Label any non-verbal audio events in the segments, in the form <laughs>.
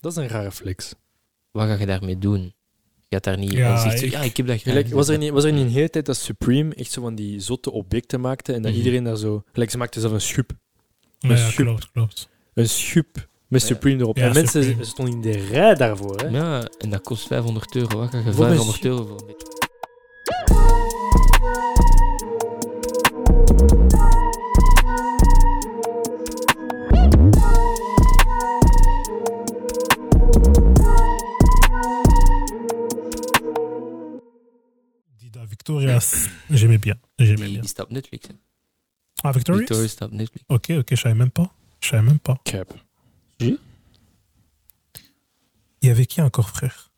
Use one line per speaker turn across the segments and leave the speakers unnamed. Dat is een rare flex.
Wat ga je daarmee doen? Je gaat daar niet
Ja,
en zegt zo,
ik-
ja, ik heb dat graag.
Gelijk, was, er niet, was er niet een hele tijd dat Supreme echt zo van die zotte objecten maakte en dat
Mhm.
iedereen daar zo... Gelijk, ze maakten zelf een schub.
Ja, ja,
Super.
klopt, klopt.
Een schub met
Ja.
Supreme erop.
Ja,
en mensen
Supreme.
stonden in de rij daarvoor. Hè?
Ja, en dat kost 500 euro. Wat ga je
Wat
500
is-
euro voor?
Dida Victoria, j'aimais bien. J'aimais
Die,
bien.
die stapt Netflix. Hè.
Ah, Victorious
Victoria stapt Netflix.
Ok, ok, je savais même pas. Je savais même pas.
Cap.
Il y avait qui encore, frère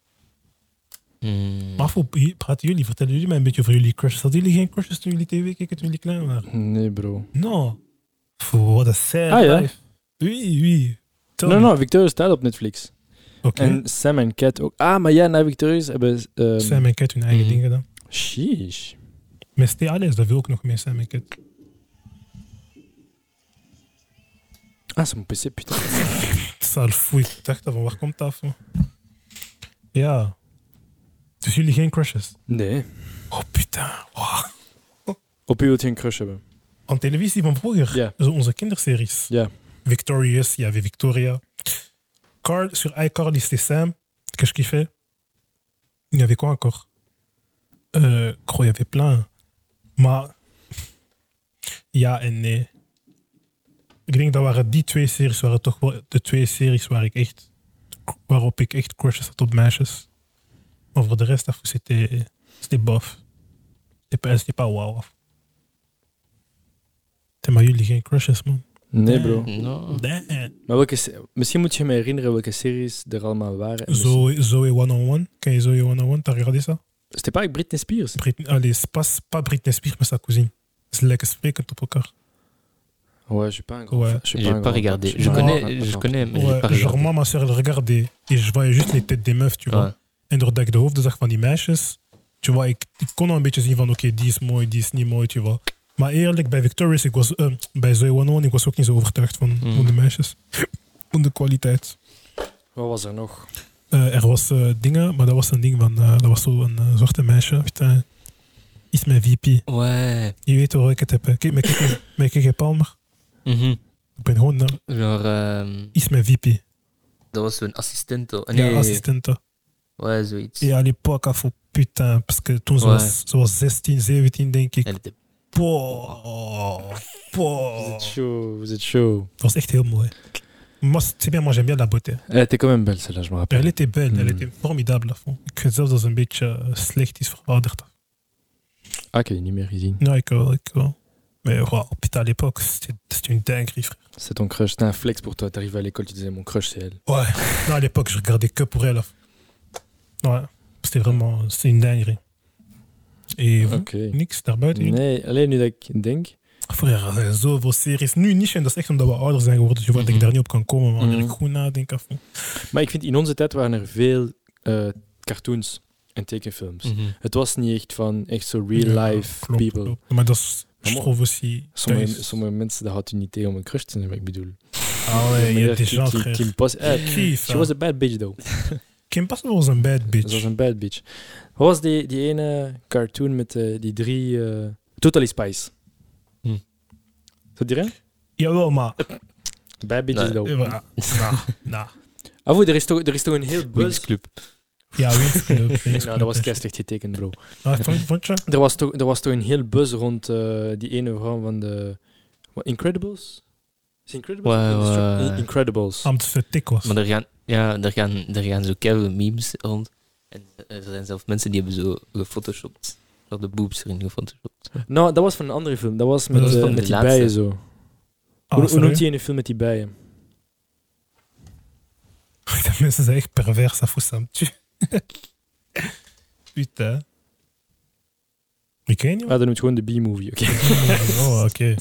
Hmm.
Maar voor, hier, praten jullie, vertellen jullie mij een beetje over jullie crushes. Hadden jullie geen crushes toen jullie tv keken, toen jullie klein waren?
Nee, bro.
hein. Non. Voor what a sad
Ah, ja.
life. Oui, oui. Tell
No,
me.
no, Victorious staat op Netflix.
Oké.
um,
En Sam en Cat ook. Ah, maar ja, na Victorious hebben... ehm
Sam en Cat hun eigen
Mhm.
dingen dan.
Sheesh.
Maar Stay Alice, dat wil ik nog meer, Sam en Cat.
Ah, c'est mon PC, putain.
Sale foei. Ik dacht van, waar komt dat van? Ja. Dus jullie geen crushes?
Nee.
Oh, putain. Oh.
Op wie wil je een crush hebben?
Aan televisie van vroeger.
Ja.
Zo onze kinderseries.
Ja.
Victorious, il y avait Victoria. Carl, sur iCarly, c'était Sam, que je kiffais. Il y avait quoi encore euh, Gros, il y avait plein. Maar ja en nee. Ik denk dat waren die twee series waren toch wel de twee series waar ik echt, waarop ik echt crushes had op meisjes. Maar voor de rest, af, c'était c'était bof. C'était pas- c'était pas wauw. af. Ten, Maar jullie geen crushes, man.
Nee, bro.
No.
Nee.
Maar welke, se- misschien moet je me herinneren welke series er allemaal waren. En misschien-
Zoe, Zoe 101. Ken je Zoe 101? T'as regardé ça?
C'était pas avec Britney Spears?
Britney, allez, c'est pas, c'est pas Britney Spears, mais sa cousine. C'est lekker sprekend op elkaar.
Ouais, je suis pas un grand
Ouais.
fan. Je suis
J'ai
un
pas
grand
regardé.
fan.
Je
pas
connais,
un
je connais, mais j'ai
Ouais,
pas
genre,
regardé. Ah.
moi, ma soeur, elle regardait. Et je voyais juste les têtes des meufs, tu vois.
Ouais.
En doordat ik de hoofden zag van die meisjes, tu vois, ik, ik kon al een beetje zien van oké, die is mooi, die is niet mooi, tu vois. Maar eerlijk, bij Victorious, ik was, eh, bij Zoe 101, ik was ook niet zo overtuigd van,
Mm.
van de <laughs> meisjes. van de kwaliteit.
Wat was er nog?
Eh, er was eh, dingen, maar dat was een ding van, eh, dat was zo'n eh, zwarte meisje. Putain, iets met VP.
Ouais.
Je weet waar ik het heb. hè. Kijk, met Kiki- met Kiki Palmer.
Mhm.
Ik ben gewoon naar
Genre, ehm,
iets met VP.
dat was zo'n assistent. toch?
Ja, oh. E
Nee,
assistente.
ouais, zoiets.
Ja, die pak af op putain. Parce que toen ze,
Ouais.
was, ze was 16, 17, denk ik.
En het-
Poh,
Vous
poh.
êtes chaud, vous êtes chaud.
Dat was echt heel mooi. Maar c'est bien, moi j'aime bien la beauté.
Elle était Eh, quand même belle, celle-là, je me
Elle
rappelle.
était belle, elle
Mm.
était formidable. à fond. Ik vind zelfs dat ze een beetje eh, slecht is verouderd.
Ah, ik heb die niet meer gezien.
Ja, ik wel, ik wel. Maar wow, putain, à l'époque, c'était c'était une dinguerie, frère.
C'est ton crush. C'était un flex pour toi. T'arrivais à l'école, tu disais mon crush, c'est elle.
Ouais, non, à l'époque, je regardais que pour elle. à fond. Ouais, c'était vraiment, c'est une dinguerie. Et vous,
Oké.
niks daarbuiten? jullie?
Nee, alleen nu dat ik denk.
Frère, er zijn zoveel series. Nu niet, en dat is echt omdat we ouder zijn geworden. Dus je voelt dat ik daar niet op kan komen, maar wanneer
Mhm.
ik goed nadenk. à fond.
Maar ik vind in onze tijd waren er veel eh, cartoons en tekenfilms.
Mm.
Mhm.
Het was niet echt van echt zo
Ja,
real life
klopt,
people.
klopt. Maar dat is
Maar mo-
aussi.
Sommige,
dat is-
sommige mensen, dat houdt u niet tegen om een crush te hebben, ik bedoel.
Ah ouais, il y a des gens,
qui,
frère.
qui me posent- eh,
Kief,
She was a bad bitch, though.
Kim Possible was een bad bitch.
Ze was een bad bitch. Wat was die, die ene cartoon met eh, die drie... eh, Totally Spice.
Hm.
Zat die erin?
Jawel, maar.
Bad bitch
Nee.
though.
eh, wa- Nah, nah.
Ah, goed, er is toch, er is toch een heel
Wings
buzz...
Club.
Ja,
<laughs>
Wings Club. Wings
nou,
Club,
dat was
eh.
kei slecht getekend, bro.
Ah, vond- vond je?
Er was toch, er was toch een heel buzz rond eh, die ene vrouw van de... Wat, Incredibles? Is het Incredibles?
Ja,
Instru-
ja, ja.
Incredibles.
Omdat ze dik was.
Maar er gaan, ja, er gaan, er gaan zo keihard memes rond. En eh, er zijn zelfs mensen die hebben zo gefotoshopt. Dat de boobs erin gefotoshopt.
Nou, dat was van een andere film. Dat was
Dat
met,
was
eh,
van de
met die
laatste.
bijen zo.
Ah,
hoe, hoe
sorry.
noemt die ene film met die bijen?
<laughs> De mensen zijn echt pervers, dat voelt me tue. <laughs> Putain. Ik weet niet.
Ah,
<laughs>
dat noemt gewoon de B-movie. Oké. <laughs>
Oh, oké.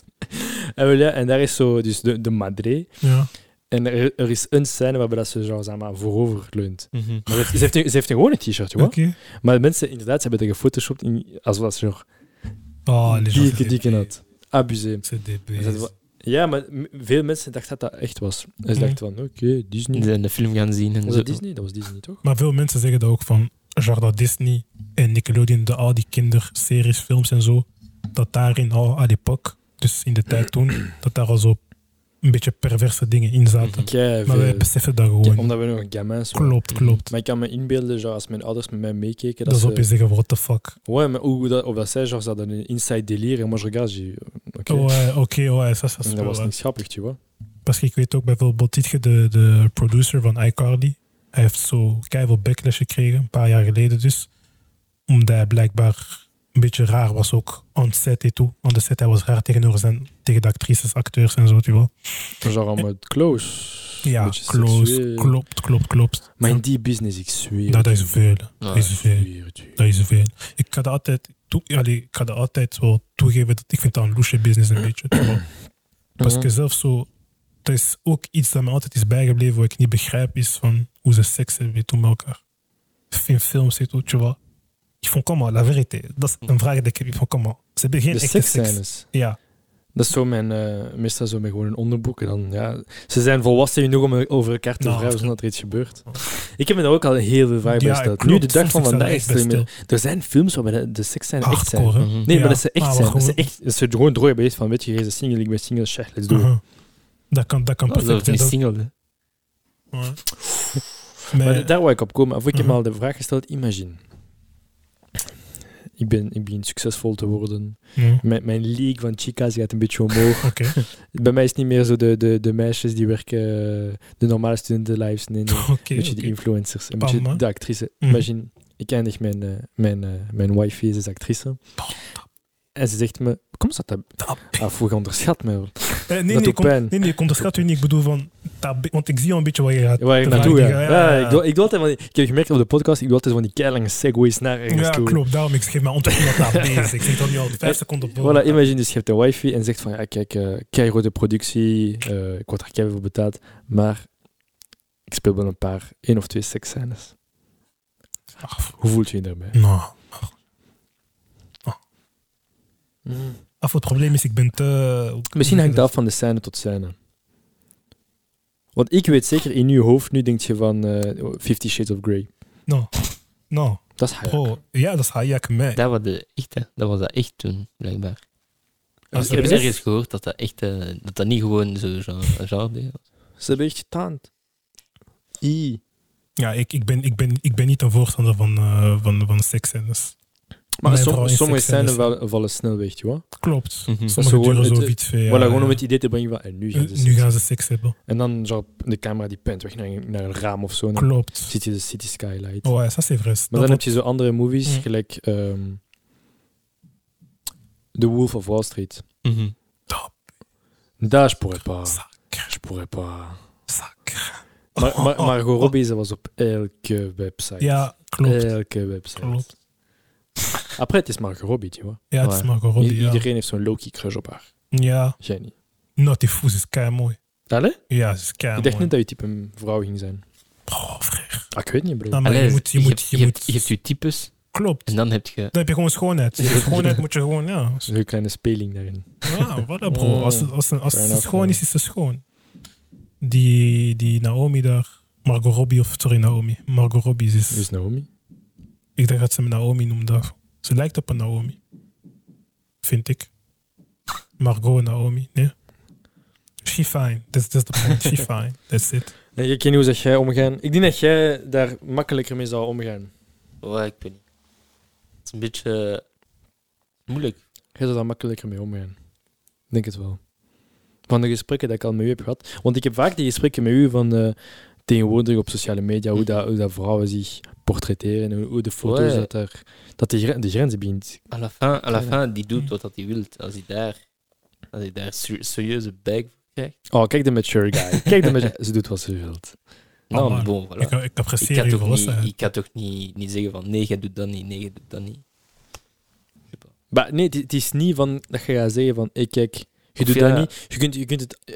En, wel, ja, en daar is zo dus de, de madre.
Ja.
En er, er is een scène waarbij dat ze zo, zeg maar, voorover leunt. Maar ze heeft, ze heeft, een- ze heeft een gewone t-shirt, joh.
Oké.
Maar mensen inderdaad, ze hebben dat gefotoshopt in, alsof dat ze nog
Oh, les gens.
dikke, dikke nat. Abusé.
C'est des
Dat is wel- Ja, maar m- veel mensen dachten dat dat echt was. Ze
Mhm.
dachten van, oké, Disney.
Die zijn de film gaan zien en
Was
zo.
dat Disney? Dat was Disney, toch?
Maar veel mensen zeggen dat ook van, genre dat Disney en Nickelodeon, de, al die kinderseries, films en zo, dat daarin al aan die pak, dus in de
<clears throat>
tijd toen, dat daar al zo een beetje perverse dingen in zaten.
Kei
Maar wij
veel.
beseffen dat
Ja,
gewoon.
omdat we nog een gamin zijn.
Klopt, klopt.
Maar ik kan me inbeelden, zo, als mijn ouders met mij meekeken, dat,
Dat
eh,
is op je
ze...
zeggen, what the fuck.
Ouais, mais ou, dat, of dat zij, genre, ze hadden een inside délire. En moi, je regarde, j'ai... Oké.
Ouais, eh, oké, ouais, ça, ça se
En
peut,
Dat was
ouais.
niet grappig, tu vois.
Parce que ik weet ook bijvoorbeeld Titje, de, de producer van iCarly. Hij heeft zo keihard backlash gekregen, een paar jaar geleden dus. Omdat hij blijkbaar een beetje raar was ook on set en toe. On the set, hij was raar tegenover zijn, tegen de actrices, acteurs en zo, tu vois.
Genre, allemaal close.
Ja,
Beetje
close,
seksueel.
klopt, klopt, klopt.
Maar in
Dat,
die business, ik zweer.
dat is
het.
veel, hè.
Ja,
dat is veel.
Zweer het u.
Dat is veel. Ik kan dat altijd, toe, allee, ik kan dat altijd wel toegeven. Dat, ik vind dat een loesje business een beetje. tu vois. Parce que zelfs zo, er is ook iets dat me altijd is bijgebleven wat ik niet begrijp, is van hoe ze seks hebben weet je, met elkaar. In films et tout, tu vois. Ils font comment, la vérité. Dat is een vraag die ik heb. Ils font comment. Ze hebben geen
De
echte seks.
seksscènes.
Ja,
Dat is zo mijn... eh meestal zo met gewoon een onderbroek. En dan, ja... Ze zijn volwassen genoeg om over elkaar te
Nou,
vragen
dat-
zonder dat er iets gebeurt. Ik heb me daar ook al heel veel vragen bij
ja
gesteld.
klopt.
Nu, de dag
Soms
van
ik sta
vandaag
daar
is
echt bij
er meer-
stil.
Er zijn films waarbij de- de seksscènes echt zijn.
Hardcore, hè?
Nee,
Mhm.
Ja, Ah,
maar dat ze echt
maar
zijn. Dat ze,
gewoon-
echt, dat ze er gewoon droog bij is van, weet je, jij is single, ik ben single, shit, let's do it.
Uh-huh. Dat kan, dat kan
Oh,
perfect
dat
zijn.
is
Dat,
single. hè.
ja.
Maar
Maar
daar wou ik op komen. Of ik heb me
Mhm.
al de vraag gesteld, imagine. Ik, ben, ik begin succesvol te worden.
ja,
Mijn, mijn league van chicas gaat een beetje
<laughs>
omhoog.
Mhm. Oké.
Bij mij is het niet meer zo de, de, de meisjes die werken, eh, de normale studentenlives. Nee, nee.
Oké, <laughs>
Een beetje de
oké.
influencers, een
Bam,
beetje
hè?
de actrice.
Mhm.
Imagine, ik eindig mijn, eh, mijn, eh, mijn wifi, ze is actrice. En ze zegt me, kom zat dat?
Tap.
Ah, vroeg onderschat me.
Eh, Nee,
dat
nee,
doet
ik ont-
pijn.
nee, nee, ik onderschat u niet. Ik bedoel van... dat- Want ik zie al een beetje wat je gaat...
Waar ik
te
naartoe ga.
vragen. Ja, ja,
Ja, ik, doe, ik doe altijd van die- ik heb gemerkt op de podcast, ik doe altijd van die keilange segways naar ergens
Ja,
toe.
klopt. Daarom, ik geef mijn antwoord dat
<laughs>
daar bezig. Ik zit er nu al vijf seconden op.
Eh, Voilà, imagine, dus je hebt de wifi en zegt van, ja, kijk, eh keiharde productie, eh, ik word er keihard voor betaald, maar ik speel wel een paar, één of twee seksscènes.
Af.
Hoe voelt je je daarbij?
Nou,
Mm.
af het probleem is, ik ben te...
Misschien hangt het af van de scène tot scène. Want ik weet zeker, in je hoofd nu denk je van eh Fifty Shades of Grey.
Nou, nou,
Dat is Hayak.
bro. Ja, dat is Hayek mij.
Dat was, de echte, dat was dat echt toen, blijkbaar.
Als
ik heb
er
is-
ergens gehoord dat dat, echt, eh, dat dat niet gewoon zo genre, genre was.
Ze hebben echt getaand. I.
Ja, ik, ik, ben, ik, ben, ik ben niet een voorstander van, eh van, dus van seksscènes.
Maar
Mijn
som-
vrouw in
sommige
seksscènes.
scènes vallen, vallen snel weg, joh.
Klopt.
Mhm.
is
Sommige
gewoon
duren zo
het-
wie twee
voilà,
jaar,
gewoon om
ja.
het idee te brengen van en nu gaan ze
Eh, Nu gaan ze seks hebben.
En dan zo de camera die pent weg naar, naar een raam of zo. En dan
Klopt.
ziet je de city skylight.
Oh ja, dat is vrai.
maar
Dat
dan heb
wordt-
je zo andere movies,
Mm.
gelijk ehm, The Wolf of Wall Street.
Mhm.
Daar spoor ik pas.
Sacre,
Spoor ik pas.
sacre.
Maar,
<laughs>
maar,
Oh,
maar
oh, oh.
Robbie, ze was op elke website.
Ja, klopt.
Elke website.
Klopt.
Après, het is Margot Robbie, tu vois.
Ja, het is
Ja.
Margot Robbie.
I-
ja.
Iedereen heeft zo'n Loki crush op haar.
Ja,
Jij niet.
nou, die voes is kei mooi.
Allee?
Ja, ze is kei
ik dacht niet dat je type een vrouw ging zijn.
Oh, frère.
Ah, ik weet niet, bro.
Nou, maar je
Allee,
moet, je
je
moet,
hebt-
je
je
moet.
hebt- je hebt je types
Klopt.
en dan heb je
Dan heb je gewoon
<laughs>
schoonheid.
Ja.
schoonheid moet je gewoon, ja.
Zo'n kleine speling daarin.
Ja, voilà bro.
Mm.
Als, het- als, het- als
Fair
het
enough,
schoon
man.
is, is het schoon. Die, die Naomi daar, Margot Robbie, of sorry Naomi, Margot Robbie is,
Dus Naomi.
ik dacht dat ze me Naomi noemde. Ze lijkt op een Naomi. Vind ik. Margot en Naomi, nee? She fine. That's, that's the point.
<laughs>
She fine. That's it.
Nee, ik weet niet hoe zeg jij omgaan. Ik denk dat jij daar makkelijker mee zou omgaan.
Ja, Oh, ik weet niet. Het is een beetje eh, moeilijk.
Jij zou daar makkelijker mee omgaan. Ik denk het wel. Van de gesprekken die ik al met u heb gehad. Want ik heb vaak die gesprekken met u van eh, tegenwoordig op sociale media, hoe, dat, hoe dat vrouwen zich portretteren en hoe, hoe de foto's
Ouais.
dat, daar, dat de, gren- de grenzen begint.
À la fin, Ah, euh, à la
Ja.
fin die doet wat dat hij wil. Als hij daar, als hij daar ser- serieuze bag voor krijgt.
Oh, kijk de mature <laughs> guy. Kijk de mature... Ze doet wat ze wil.
Nou,
maar
bon, voilà.
Ik, ik
Ik
apprecieer
kan
je
toch, niet,
volwassenheid.
ik kan toch niet, niet zeggen van nee, jij doet dat niet, nee, jij doet dat niet.
Maar nee, het- het is niet van dat je gaat zeggen van, hey, kijk, je
Of
doet
ja.
dat niet. Je kunt, je kunt het... eh,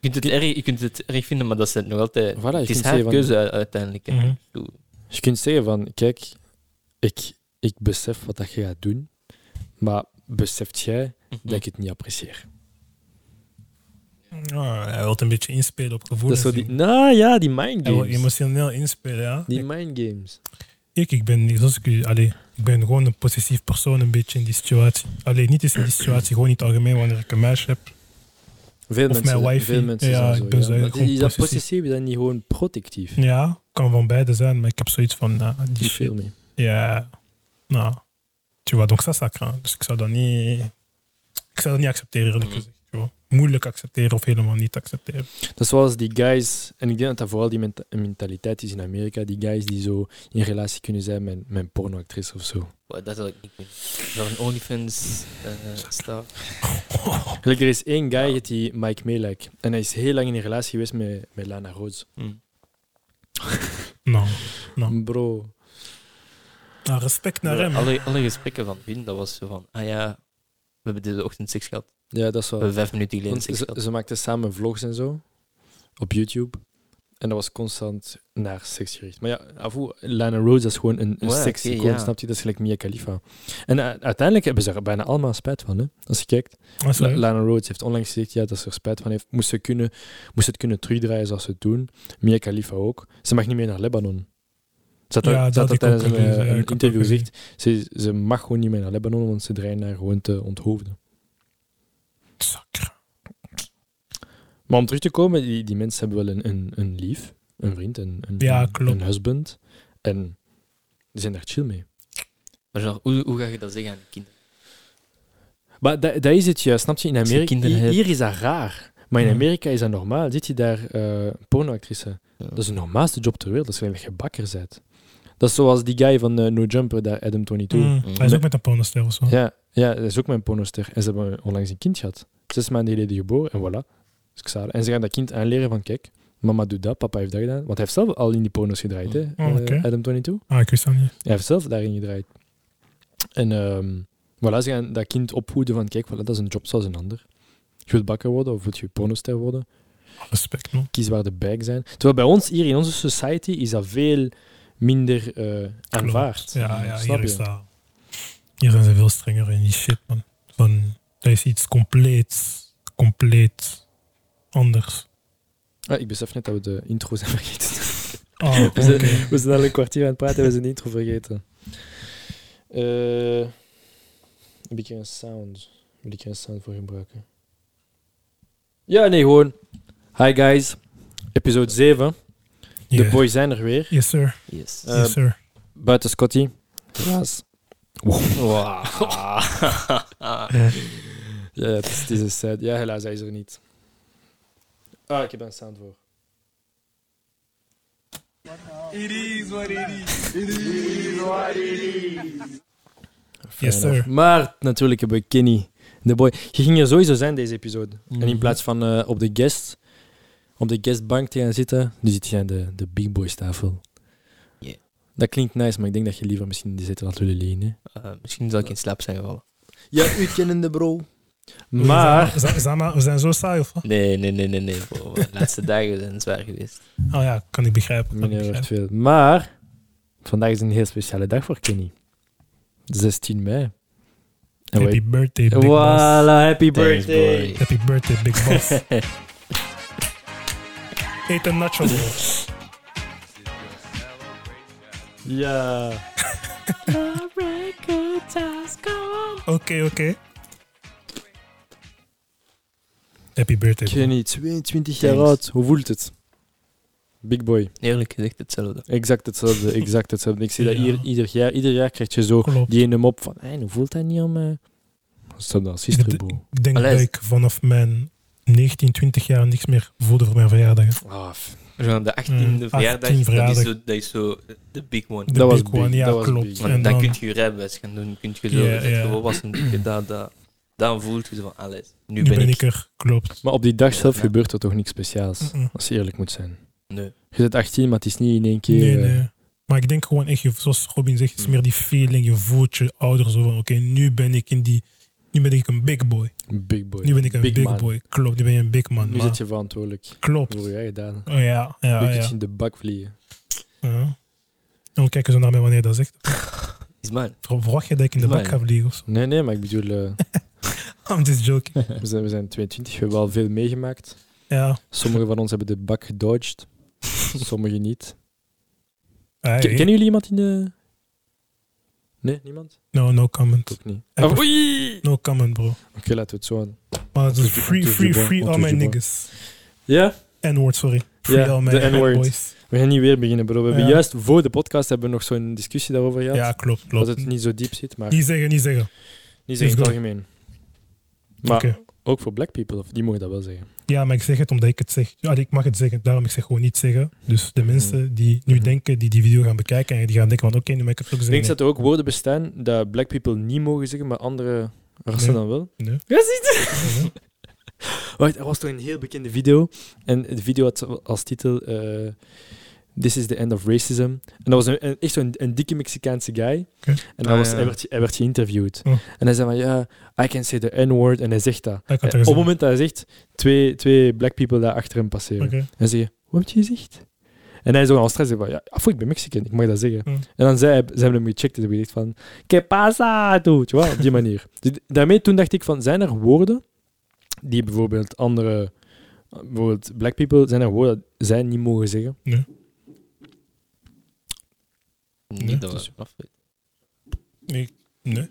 Je kunt het, erg, je kunt het erg vinden, maar dat is het nog altijd.
voilà, je
het is
kunt
haar
zeggen van,
keuze u- euh, uiteindelijk. hè.
Mhm.
Ik bedoel,
Je kunt zeggen van, kijk, ik, ik besef wat dat je gaat
Mhm.
doen, maar beseft jij dat ik het niet apprecieer?
Ja, hij wil een beetje inspelen op
Dat is
gevoelens.
zo die,
joh.
nou ja, die mind
hij wil
games.
emotioneel inspelen, ja.
Die mind games.
Ik, ik ben niet, zoals ik u- allee, ik ben gewoon een possessief persoon een beetje in die situatie. Alleen niet eens in die situatie, gewoon niet algemeen wanneer ik een meisje heb.
Veel
Of
mensen,
mijn wifi.
veel mensen
Ja,
zijn
ik
zo.
ben zo
ja. Maar
gewoon
Is dat
possessief.
possessief, is dat niet gewoon protectief?
Ja, kan van beide zijn, maar ik heb zoiets van, nou, die
Die
shit.
veel meer.
Ja, nou, tu vois, donc ça, ça craint. Dus ik zou dat niet, ik zou dat niet accepteren, eerlijk gezegd. tu vois. Moeilijk accepteren of helemaal niet accepteren.
Dat is zoals die guys, en ik denk dat dat vooral die menta- mentaliteit is in Amerika, die guys die zo in relatie kunnen zijn met, met een pornoactrice of zo.
Wow, dat wil ik niet meer. Zo'n OnlyFans eh staat.
Gelijk, er is één guy, heet die Mike Melek, en hij is heel lang in een relatie geweest met, met Lana Rhodes.
Mhm.
Nou,
Bro.
nou, respect naar hem.
Alle, alle gesprekken van Wien, dat was zo van, ah ja, we hebben deze ochtend seks gehad.
Ja, dat is
We
wel...
hebben vijf minuten geleden
Want
seks
ze,
gehad.
ze maakten samen vlogs en zo op YouTube. En dat was constant naar seks gericht. Maar ja, afvoer, Lana Rhodes dat is gewoon een, een
Oh Ja,
sexy
oké,
icoon,
ja.
snap je? Dat is gelijk Mia Khalifa. En eh, uiteindelijk hebben ze er bijna allemaal spijt van, hè? Als je kijkt.
Ah, sorry.
La- Lana Rhodes heeft onlangs gezegd ja, dat ze er spijt van heeft. Moest ze, kunnen, moest ze het kunnen terugdraaien zoals ze het doen. Mia Khalifa ook. Ze mag niet meer naar Lebanon. Ze had,
Ja,
dat,
dat
ze had dat
had ik
tijdens
ook
een,
gelezen.
eh,
Ja,
een
ik had
interview
ook gelezen.
gezegd. Ze, ze mag gewoon niet meer naar Lebanon, want ze dreigen haar gewoon te onthoofden.
Sacre.
Maar om terug te komen, die, die mensen hebben wel een, een, een lief, een vriend, een, een,
Ja,
een-
klopt.
een husband. En die zijn daar chill mee.
Maar genre, hoe, hoe ga je dat zeggen aan de kinderen?
Maar dat, dat is het juist, snap je? In
je
Amerika,
kinderen
hier,
hebt.
hier is dat raar. Maar in
Ja.
Amerika is dat normaal. Zit je daar eh pornoactrice?
Ja.
Dat is de normaalste job ter wereld. Dat is alleen dat je bakker bent. Dat is zoals die guy van eh, No Jumper, daar Adam 22.
Mm, Hij is ook met een pornostel of zo.
Ja, ja, dat is ook mijn pornoster. En ze hebben onlangs een kind gehad. Zes maanden geleden geboren en voilà. Dat is zalig. En ze gaan dat kind aanleren van kijk, mama doet dat, papa heeft dat gedaan. Want hij heeft zelf al in die pornos gedraaid, hè?
Oh,
eh,
oké.
Adam 22.
Ah, ik wist dat niet.
Hij heeft zelf daarin gedraaid. En ehm voilà, ze gaan dat kind opvoeden van kijk, voilà, dat is een job zoals een ander. Je wilt bakker worden of wilt je pornoster worden?
Respect, man.
Kies waar de bijk zijn. Terwijl bij ons hier in onze society is dat veel minder eh, aanvaard.
Ja, ja
Snap
hier, is
je?
dat, hier zijn ze veel strenger in die shit, man. Van, dat is iets compleet, compleet anders.
Ah, ik besef net dat we de intro zijn <laughs> vergeten.
Oh,
we, zijn,
oké.
we zijn al een kwartier aan het praten en we zijn de intro vergeten. Eh, heb ik hier een sound? Wil ik hier een sound voor gebruiken? Ja, nee, gewoon. Hi guys, episode 7. De
Yeah.
boys zijn er weer.
Yes, sir.
Yes.
Eh,
yes, sir.
Buiten Scotty. Klaas. <laughs>
Wow.
Ja, het is, het is een sad. Ja, helaas, hij is er niet. Ah, ik heb een sound voor. Fair
Yes,
enough.
sir.
Maar natuurlijk hebben we Kenny, de boy. Je ging er sowieso zijn deze episode. En
Mhm.
in plaats van eh, op de guest, op de guestbank te gaan zitten, nu zit je aan de, de big boys tafel.
Yeah.
Dat klinkt nice, maar ik denk dat je liever misschien die zetel had willen lenen.
Eh, misschien zal ik in slaap zijn gevallen.
Ja, u kennende bro. Maar...
Zeg maar- zeg maar, we zijn zo saai, of wat?
Nee, nee, nee, nee, nee. bro. De laatste dagen zijn zwaar geweest.
Oh ja, kan ik begrijpen. Kan ik
Meneer
begrijpen.
Wertvel. Maar vandaag is een heel speciale dag voor Kenny. 16 mei. En
Happy
wij-
birthday, Big
voilà,
Boss.
happy
Thanks,
birthday.
boy.
Happy birthday,
<laughs>
Big Boss. Eet een nacho, bro.
Ja.
Oké, oké. Happy birthday, bro.
Kenny, 22 jaar
Thanks.
oud. Hoe voelt het? Big boy.
Eerlijk gezegd hetzelfde.
Exact
<laughs>
hetzelfde, exact hetzelfde. Ik zie dat
Ja.
hier, ieder jaar. Ieder jaar krijg je zo
Klopt.
die ene mop van... Hey, hoe voelt dat niet om... eh Hetzelfde als
Ik
gisteren,
d-
bro.
Ik denk
Allee.
dat ik vanaf mijn 19, 20 jaar niks meer voelde voor mijn verjaardag. hè.
Ah, f-
Genre de 18e
Mm, 18e
verjaardag, Dat,
verjaardag.
is zo, dat is zo de big one.
De
Dat was
big
big,
one, ja,
dat was
klopt.
big.
Maar
En
dan,
dan,
kun je je rijbewijs gaan doen, kun je zo
Ja,
yeah,
ja.
volwassen worden, dat, dat. Dan voelt je zo van, alles, nu,
nu ben ik er, klopt.
Maar op die dag zelf
Ja. Mm.
gebeurt er toch niks speciaals?
Mm-mm.
Als je eerlijk moet zijn.
Nee.
Je bent 18, maar het is niet in één keer...
Nee,
eh,
nee. Maar ik denk gewoon echt, je- zoals Robin zegt,
Mm.
het is meer die feeling, je voelt je ouder zo van, oké, nu ben ik in die, nu ben ik een big boy.
eh, Big boy.
Nu ben ik een
Big
big,
man.
boy. Klopt, nu ben je een big man.
nu
maar-
zit je verantwoordelijk
Klopt.
voor je eigen daden.
Oh, ja, ja,
Een
ja.
beetje in de bak vliegen.
ja. En we kijken zo naar mij wanneer dat zegt.
Is mine.
Verwacht je dat ik in de
Nee.
bak ga vliegen of zo? <laughs>
Nee, nee, maar ik bedoel... eh,
I'm just joking.
We zijn, we zijn 22, we hebben al veel meegemaakt.
Ja.
Sommigen van ons hebben de bak
<laughs>
gedodged, sommigen niet.
Hey.
Ken- Kennen jullie iemand in de... Nee,
<laughs>
niemand?
No, no
Ik
comment.
ook niet.
Hey,
Ah,
bro.
oei!
No comment, bro.
Oké, laten we het zo aan.
Maar het is
Wat
free,
doet je
free,
boy?
free
Wat
all
doet
my
je boy?
niggas.
Ja?
N-word, sorry. Free
Ja,
all my
de N-word.
boys.
We gaan niet weer beginnen, bro. We hebben
Ja.
juist voor de podcast hebben we nog zo'n discussie daarover gehad.
Ja, klopt,
dat
klopt.
het niet zo diep zit, maar
Niet zeggen, niet zeggen.
niet zo in het
goed.
algemeen.
Oké.
Maar ook voor black people, of die mogen dat wel zeggen.
Ja, maar ik zeg het omdat ik het zeg. Ja, ik mag het zeggen, daarom ik zeg gewoon niet zeggen. Dus de mensen die nu
Mhm.
denken, die die video gaan bekijken, en die gaan denken van oké, nu mag ik het ook
Ik
zeggen.
denk dat er ook woorden bestaan dat black people niet mogen zeggen, maar andere rassen
Nee.
dan wel.
Nee. Nee.
Wacht, er was toch een heel bekende video. En de video had als titel eh, This is the end of racism. En dat was een, een- echt zo'n een dikke Mexicaanse guy.
Oké.
En hij,
Ah,
was,
ja.
hij, werd, hij werd geïnterviewd.
Oh.
En hij zei van, ja, I can say the N-word. En hij zegt dat.
Dat
Eh,
kan
<laughs> Op
toch
het
eens
moment dat hij zegt, twee, twee black people daar achter hem passeren.
Oké.
En zei je, wat heb je gezegd? En hij zo aan stress zei van, ja, af, ik ben Mexican, ik mag dat zeggen.
Hmm.
En dan zei hij, ze hebben hem gecheckt en hebben gezegd van, que pasa, tu? Tu vois, op die manier. <laughs> Dus daarmee toen dacht ik van, zijn er woorden die bijvoorbeeld andere, bijvoorbeeld black people, zijn er woorden dat zij niet mogen zeggen?
Niet
Ja,
dat we
dus-
af-
Nee. nee.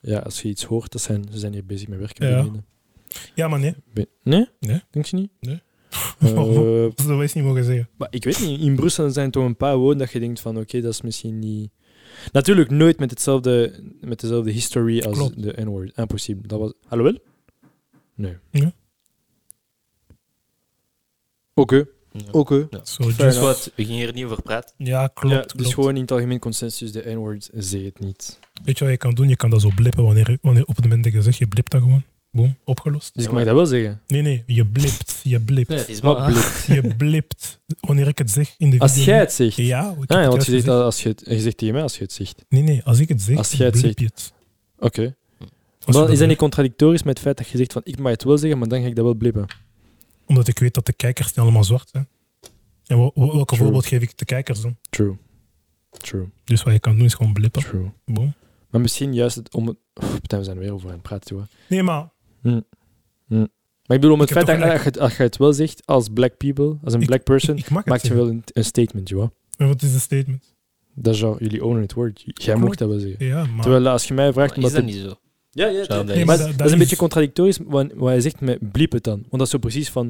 Ja, als je iets hoort, dat zijn, ze zijn hier bezig met werken.
Ja.
beneden.
Ja, maar nee.
Be- nee?
Nee.
Denk je niet?
Nee.
Eh,
<laughs> Dat zou je niet mogen zeggen.
Maar ik weet niet, in Brussel zijn toch een paar woorden dat je denkt van oké, dat is misschien niet... Natuurlijk nooit met, hetzelfde, met dezelfde history als
Klopt.
de N-word. Impossible. Dat was... Alhoewel? Nee.
Ja.
Oké,
Ja.
oké.
Zo,
Fair
dus-
Dus wat, we gingen hier niet over praten.
ja, klopt.
Ja,
klopt.
dus gewoon in het algemeen consensus, de N-word zei het niet.
Weet je wat je kan doen? Je kan dat zo blippen wanneer, wanneer op het moment dat je zegt, je blipt dat gewoon. Boom, opgelost.
Dus
Ja,
ik mag dat
maar-
wel zeggen.
Nee, nee, je blipt. Je blipt.
het is
Wat
maar
blikt. <laughs>
Je blipt wanneer ik het zeg in de video.
Als jij het zegt. Ja,
Ja, ik heb
ja
het
want
juist
je zegt,
gezegd.
dat als je, het, je zegt tegen mij als je het zegt.
Nee, nee, als ik het zeg,
Als jij het
blip je het.
Oké.
Als
Maar
je
Is dat
dat-
niet contradictorisch met het feit dat je zegt van ik mag het wel zeggen, maar dan ga ik dat wel blippen?
Omdat ik weet dat de kijkers niet allemaal zwart zijn. En wel- wel- welke
True.
voorbeeld geef ik de kijkers dan?
True. True.
Dus wat je kan doen is gewoon blippen.
True.
Boom.
Maar misschien juist het om het... Pff, putain, we zijn er weer over aan het praten, hoor.
Nee, maar
Maar ik bedoel, om het
Ik heb
feit dat,
toch
dat, je, het- dat je het wel zegt als black people, als een
Ik-
black person,
<laughs> ik, ik mag het
maakt je
zeggen.
wel een, een statement, joh.
Maar Wat is de statement?
Dat is jou, jullie ownen het woord. Jij
Klopt.
mocht dat wel zeggen.
Ja, maar...
Terwijl als je mij vraagt...
Maar is
omdat
dat
het-
niet zo?
Ja, ja.
Zou
het-
dat-
maar
Nee,
maar
dat,
dat-
dat
dat
is een
is-
beetje contradictorisch, wat, wat hij zegt met bliep het dan. Want dat is zo precies van...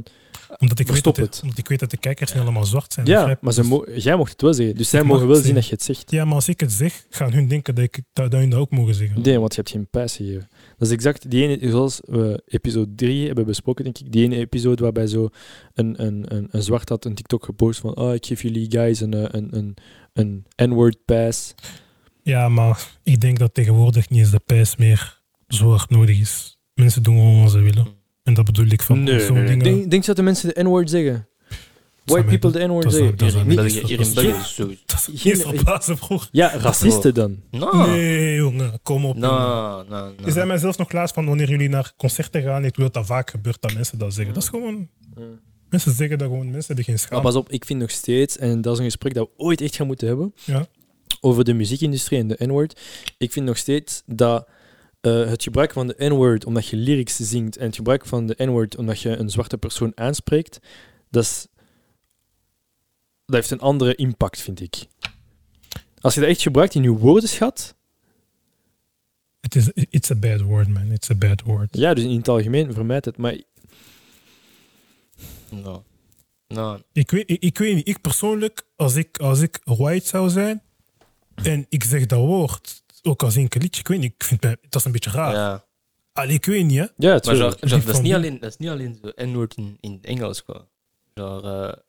omdat, ik weet
verstop
dat, de-
het.
omdat ik weet dat de kijkers niet allemaal zwart zijn.
Ja,
begrijp je?
maar ze
Dus-
mo- jij mocht het wel zeggen. Dus zij
Ik
mogen
mag
wel
het
zien dat je
zeggen.
het zegt.
Ja, maar als ik het zeg, gaan hun denken dat, ik, dat, dat hun dat ook mogen zeggen.
Nee, want je hebt geen pijs gegeven. Dat is exact die ene, zoals we episode 3 hebben besproken, denk ik. Die ene episode waarbij zo een, een, een, een zwart had een TikTok gepost van oh, ik geef jullie guys een, eh, een, een, een N-word pass.
Ja, maar ik denk dat tegenwoordig niet eens de pijs meer zo hard nodig is. Mensen doen gewoon wat ze willen. En dat bedoel ik van zo'n dingen.
Denk, denk je dat de mensen de N-word zeggen?
zou
White
mij-
people de N-word
dat zou-
zeggen?
dat
Hier
zou-
in
niet-
België, hier in
dat-
België is sowieso.
Dat is
Geen-
niet verplaatsen, broer.
Ja, racisten dan.
No,
Nee, jongen, kom op. jongen.
no, no.
Is hij mij zelfs nog laatst van wanneer jullie naar concerten gaan, ik wil dat vaak gebeurt dat mensen dat zeggen. Dat is gewoon. Mensen zeggen dat gewoon mensen die geen
Maar
schaamte
Ah, pas op, ik vind nog steeds, en dat is een gesprek dat we ooit echt gaan moeten hebben,
Ja.
over de muziekindustrie en de N-word. Ik vind nog steeds dat eh, het gebruik van de N-word omdat je lyrics zingt en het gebruik van de N-word omdat je een zwarte persoon aanspreekt, dat, is, dat heeft een andere impact, vind ik. Als je dat echt gebruikt in je woordenschat,
Het is it's a bad word, man. It's a bad word.
ja, dus in het algemeen vermijd het. Maar
No. No.
Ik weet, ik, ik weet niet, ik persoonlijk, als ik, als ik white zou zijn en ik zeg dat woord, ook als ik een liedje, ik weet niet, ik vind mij- dat is een beetje raar.
Ja.
Allee, ik weet niet, hè.
ja, het
Maar genre,
Die
genre, dat, is
van-
niet alleen, dat is niet alleen zo N-woord in, in het Engels. Qua. Genre, eh,